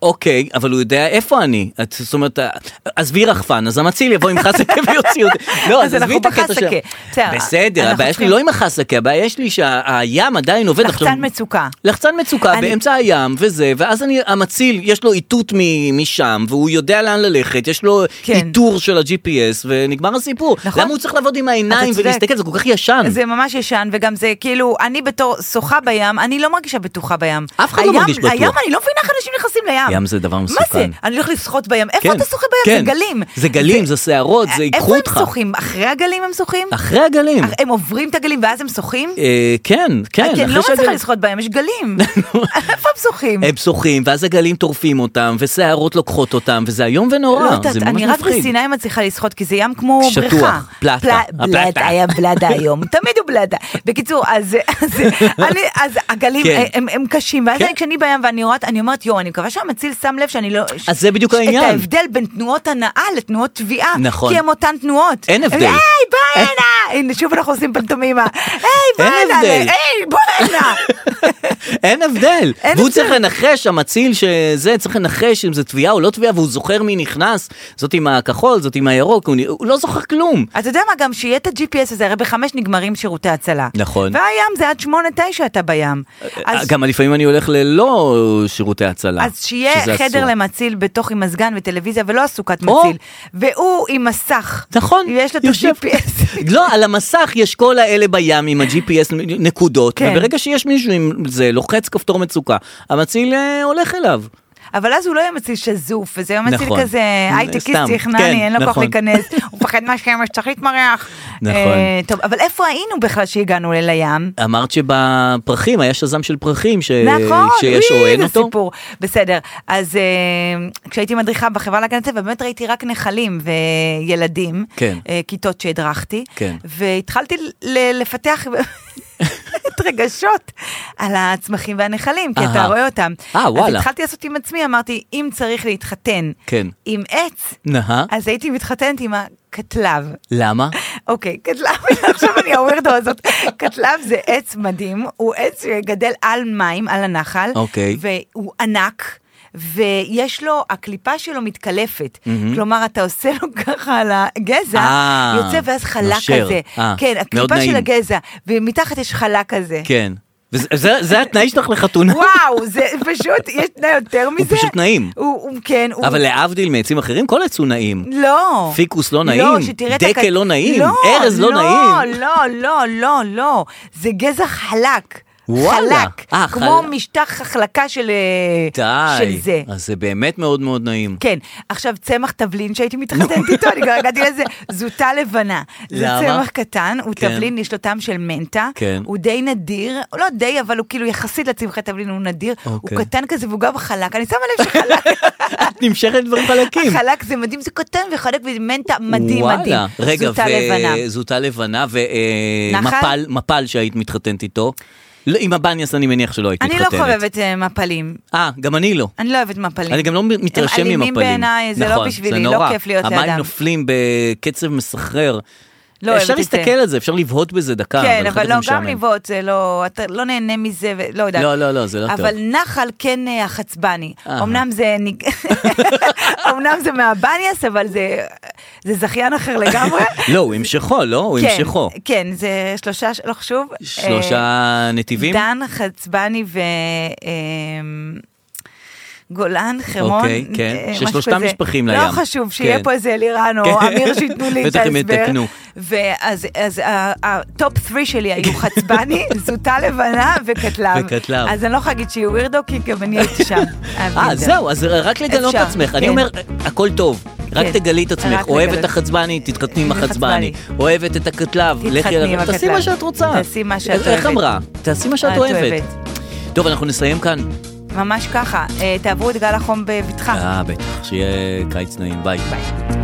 B: אוקיי, אבל הוא יודע איפה אני. את- זאת אומרת, אה, עזבי רחפן, אז המציל יבוא עם חסקה ויוציא אותי. לא,
C: אז
B: אז עזבי
C: אנחנו
B: את הקטע של...
C: בחסקה. בסדר,
B: בסדר,
C: אנחנו
B: הבעיה שלי
C: צריכים-
B: לא עם החסקה, הבעיה שלי שהים עדיין עובד עכשיו.
C: לחצן מצוקה.
B: לחצן מצוקה
C: אני-
B: באמצע הים וזה, ואז אני, המציל, יש לו איתות מ- משם, והוא יודע לאן ללכת, יש לו
C: כן.
B: איתור של ה-GPS, ונגמר הסיפור.
C: נכון.
B: למה הוא צריך לעבוד עם העיניים
C: אתה צודק.
B: ולהסתכל? זה כל כך ישן.
C: זה ממש ישן, וגם זה כאילו, אני בתור שוחה בים, אני לא מרגישה בטוחה בים.
B: אף אחד לא
C: הים-
B: מרגיש בטוח.
C: הים, אני לא מבינה איך אנשים נכנסים לים.
B: ים זה דבר
C: מה זה?
B: מסוכן.
C: אני הולך לשחות בים. איפה
B: כן,
C: אתה שוחה בים? זה
B: כן.
C: גלים. אה,
B: זה גלים, זה שערות, זה ייקחו
C: איפה הם אה,
B: אותך.
C: שוחים? אחרי הגלים הם שוחים?
B: אחרי הגלים.
C: הם עוברים את הגלים ואז הם שוחים?
B: אה, כן, כן.
C: כי אני
B: אחרי
C: לא מצליחה
B: שהגלים-
C: לשחות בהם, יש גלים. איפה הם שוחים?
B: הם שוחים, ואז הגלים טורפים אותם, ושערות לוקחות אותם, וזה איום ונורא,
C: לא יודעת,
B: זה ממש
C: אני רק
B: מפחיד.
C: בסיני מצליחה לשחות, כי זה ים כמו
B: שטוח,
C: בריכה.
B: פלטה,
C: פלה-
B: הפלטה.
C: בלאדה, היה בלאדה היום, תמיד הוא בלאדה. בקיצור, אז אז- אני- אז הגלים
B: כן.
C: הם- הם קשים, ואז
B: כן.
C: אני- כשאני בים ואני רואה, אני אומרת, יואו, אני מקווה שהמציל שם לב שאני לא...
B: אז זה בדיוק העניין.
C: את ההבדל בין תנועות הנאה לתנועות תביעה.
B: נכון.
C: כי הם אותן תנועות.
B: אין הבדל.
C: היי, בואי הנה! הנה, שוב אנחנו עושים פנטומימה. היי, בואי
B: אין
C: הנה!
B: הבדל.
C: היי, בואי הנה!
B: אין הבדל.
C: אין
B: והוא
C: הבדל.
B: צריך לנחש, המציל שזה, צריך לנחש אם זה תביעה או לא תביעה, והוא זוכר מי נכנס, זאת עם הכחול, זאת עם הירוק, הוא נ- הוא לא זוכר כלום.
C: אתה יודע מה, גם שיהיה את ה-GPS הזה, הרי בחמש נגמרים שירותי הצלה.
B: נכון. אה,
C: והים זה עד שמונה, תשע אתה בים. אז-
B: גם לפעמים אני הולך ללא שירותי הצלה.
C: אז שיהיה
B: שזה
C: חדר
B: אסור.
C: למציל בתוך עם מזגן וטלוויזיה ולא הסוכת מציל. והוא עם מסך.
B: נכון.
C: יש לו את ה-GPS.
B: לא, על המסך יש כל האלה בים עם ה-GPS נקודות,
C: כן.
B: וברגע שיש מישהו עם זה, לוחץ כפתור מצוקה, המציל אה, הולך אליו.
C: אבל אז הוא לא יהיה מציל שזוף, וזה יהיה מציל
B: נכון.
C: כזה
B: סתם,
C: הייטקיסט
B: כן,
C: יחנני, אין לו כוח
B: נכון.
C: להיכנס, הוא מפחד מהשמש, צריך להתמרח.
B: נכון.
C: אה, טוב, אבל איפה היינו בכלל שהגענו אל הים?
B: אמרת שבפרחים, היה שזם של פרחים, ש...
C: נכון,
B: אה, שיש
C: אוי,
B: או אין
C: זה
B: אותו.
C: סיפור. בסדר, אז אה, כשהייתי מדריכה בחברה להגנת הטבע, באמת ראיתי רק נחלים וילדים,
B: כן.
C: אה, כיתות שהדרכתי,
B: כן.
C: והתחלתי ל- לפתח את רגשות על הצמחים והנחלים, כי אתה
B: אהה.
C: רואה אותם.
B: אה,
C: אז
B: וואלה.
C: התחלתי לעשות עם עצמי, אמרתי, אם צריך להתחתן
B: כן.
C: עם עץ,
B: נהה.
C: אז הייתי מתחתנת עם הקטלב.
B: למה?
C: אוקיי, קטלב, עכשיו אני הווירדו הזאת. קטלב זה עץ מדהים, הוא עץ שגדל על מים, על הנחל,
B: אוקיי.
C: והוא ענק. ויש לו, הקליפה שלו מתקלפת.
B: מהמם.
C: כלומר, אתה עושה לו ככה על הגזע,
B: אה,
C: יוצא ואז חלה
B: נושר.
C: כזה.
B: אה,
C: כן,
B: מאוד
C: הקליפה של
B: נעים.
C: הגזע, ומתחת יש חלה כזה.
B: כן. וזה, זה, זה התנאי שלך לחתונה.
C: וואו, זה פשוט, יש תנאי יותר מזה?
B: פשוט נעים.
C: הוא, הוא- כן, הוא...
B: אבל להבדיל מעצים אחרים, כל עץ הוא נעים.
C: לא.
B: פיקוס לא
C: לא,
B: נעים,
C: שתראה את
B: דקל
C: הכת-
B: לא נעים, ארז לא נעים.
C: לא, לא, לא, לא, זה גזע חלק.
B: וואלה.
C: חלק.
B: אה,
C: כמו
B: חלק.
C: משטח החלקה של אה, של
B: די.
C: זה.
B: אז זה באמת מאוד מאוד נעים.
C: כן, עכשיו צמח תבלין שהייתי מתחתנת איתו, אני כבר הגעתי לזה, זוטה לבנה. זה
B: למה?
C: צמח קטן, הוא
B: כן.
C: תבלין, יש לו טעם של מנטה,
B: כן.
C: הוא די נדיר, הוא לא די, אבל הוא כאילו יחסית לצמחי תבלין הוא נדיר, הוא
B: אוקיי.
C: קטן כזה והוא גם חלק, אני שמה לב שחלק
B: את נמשכת דברים חלקים.
C: חלק זה מדהים, זה קטן וחלק ומנטה מדהים
B: וואלה.
C: מדהים.
B: רגע,
C: זוטה לבנה.
B: זוטה לבנה
C: נחל?
B: ומפל, מפל שהיית מתחתנת איתו. לא, עם הבניאס אני מניח שלא היית
C: אני
B: מתחתנת.
C: לא חובבת אה, מפלים.
B: אה, גם אני לא.
C: אני לא אוהבת מפלים.
B: אני גם לא מתרשם
C: הם
B: ממפלים.
C: אלימים בעיניי, זה לא
B: נכון,
C: בשבילי,
B: נורא.
C: לא כיף להיות
B: המים
C: לידם.
B: נופלים בקצב מסחרר.
C: לא אוהבת
B: אפשר
C: את זה.
B: להסתכל על זה, אפשר לבהות בזה דקה.
C: כן,
B: אחר כך
C: אבל
B: זה
C: לא, גם
B: משעמם.
C: לבעוט, זה לא, אתה לא נהנה מזה, ו- לא יודעת.
B: לא, לא, לא, זה לא טוב.
C: אבל נחל כן אה, החצבני.
B: אהה.
C: אמנם זה ניג- אמנם זה מהבניאס, אבל זה זה זכיין אחר לגמרי.
B: לא, הוא המשכו, לא? הוא
C: כן,
B: המשכו.
C: כן, זה שלושה, לא חשוב.
B: שלושה נתיבים?
C: דן חצבני ו... אמ, גולן, חרמון,
B: אוקיי, כן,
C: אה,
B: ששלושתם
C: משהו כזה.
B: משפחים
C: לא
B: לים.
C: חשוב,
B: כן.
C: שיהיה פה איזה אלירן או
B: כן.
C: אמיר שייתנו לי את
B: בטח הם
C: ההסבר.
B: יתקנו.
C: ואז אז אה, ה- הטופ 3 שלי היו חצבני, זוטה לבנה וקטלב.
B: וקטלב.
C: אז אני לא יכולה להגיד שהיא ווירדו, כי גם אני הייתי שם. אהבתי
B: אה,
C: את זה.
B: זהו, אז רק לגלות את
C: אפשר,
B: עצמך.
C: כן.
B: אני אומר, אה, הכל טוב. רק
C: כן.
B: תגלי את עצמך.
C: רק
B: אוהבת
C: לגלות.
B: את החצבני, תתחתני עם
C: עם
B: החצבני. אוהבת את הקטלב, לכי
C: תתחתני עם
B: עליו. תעשי
C: הקטלב.
B: מה שאת רוצה.
C: תעשי מה שאת
B: איך
C: אוהבת.
B: אמרה? תעשי מה שאת אוהבת. טוב, אנחנו נסיים כאן.
C: ממש ככה, אה, תעברו את גל החום בבטחה.
B: אה, בטח, שיהיה קיץ נעים. ביי.
C: ביי.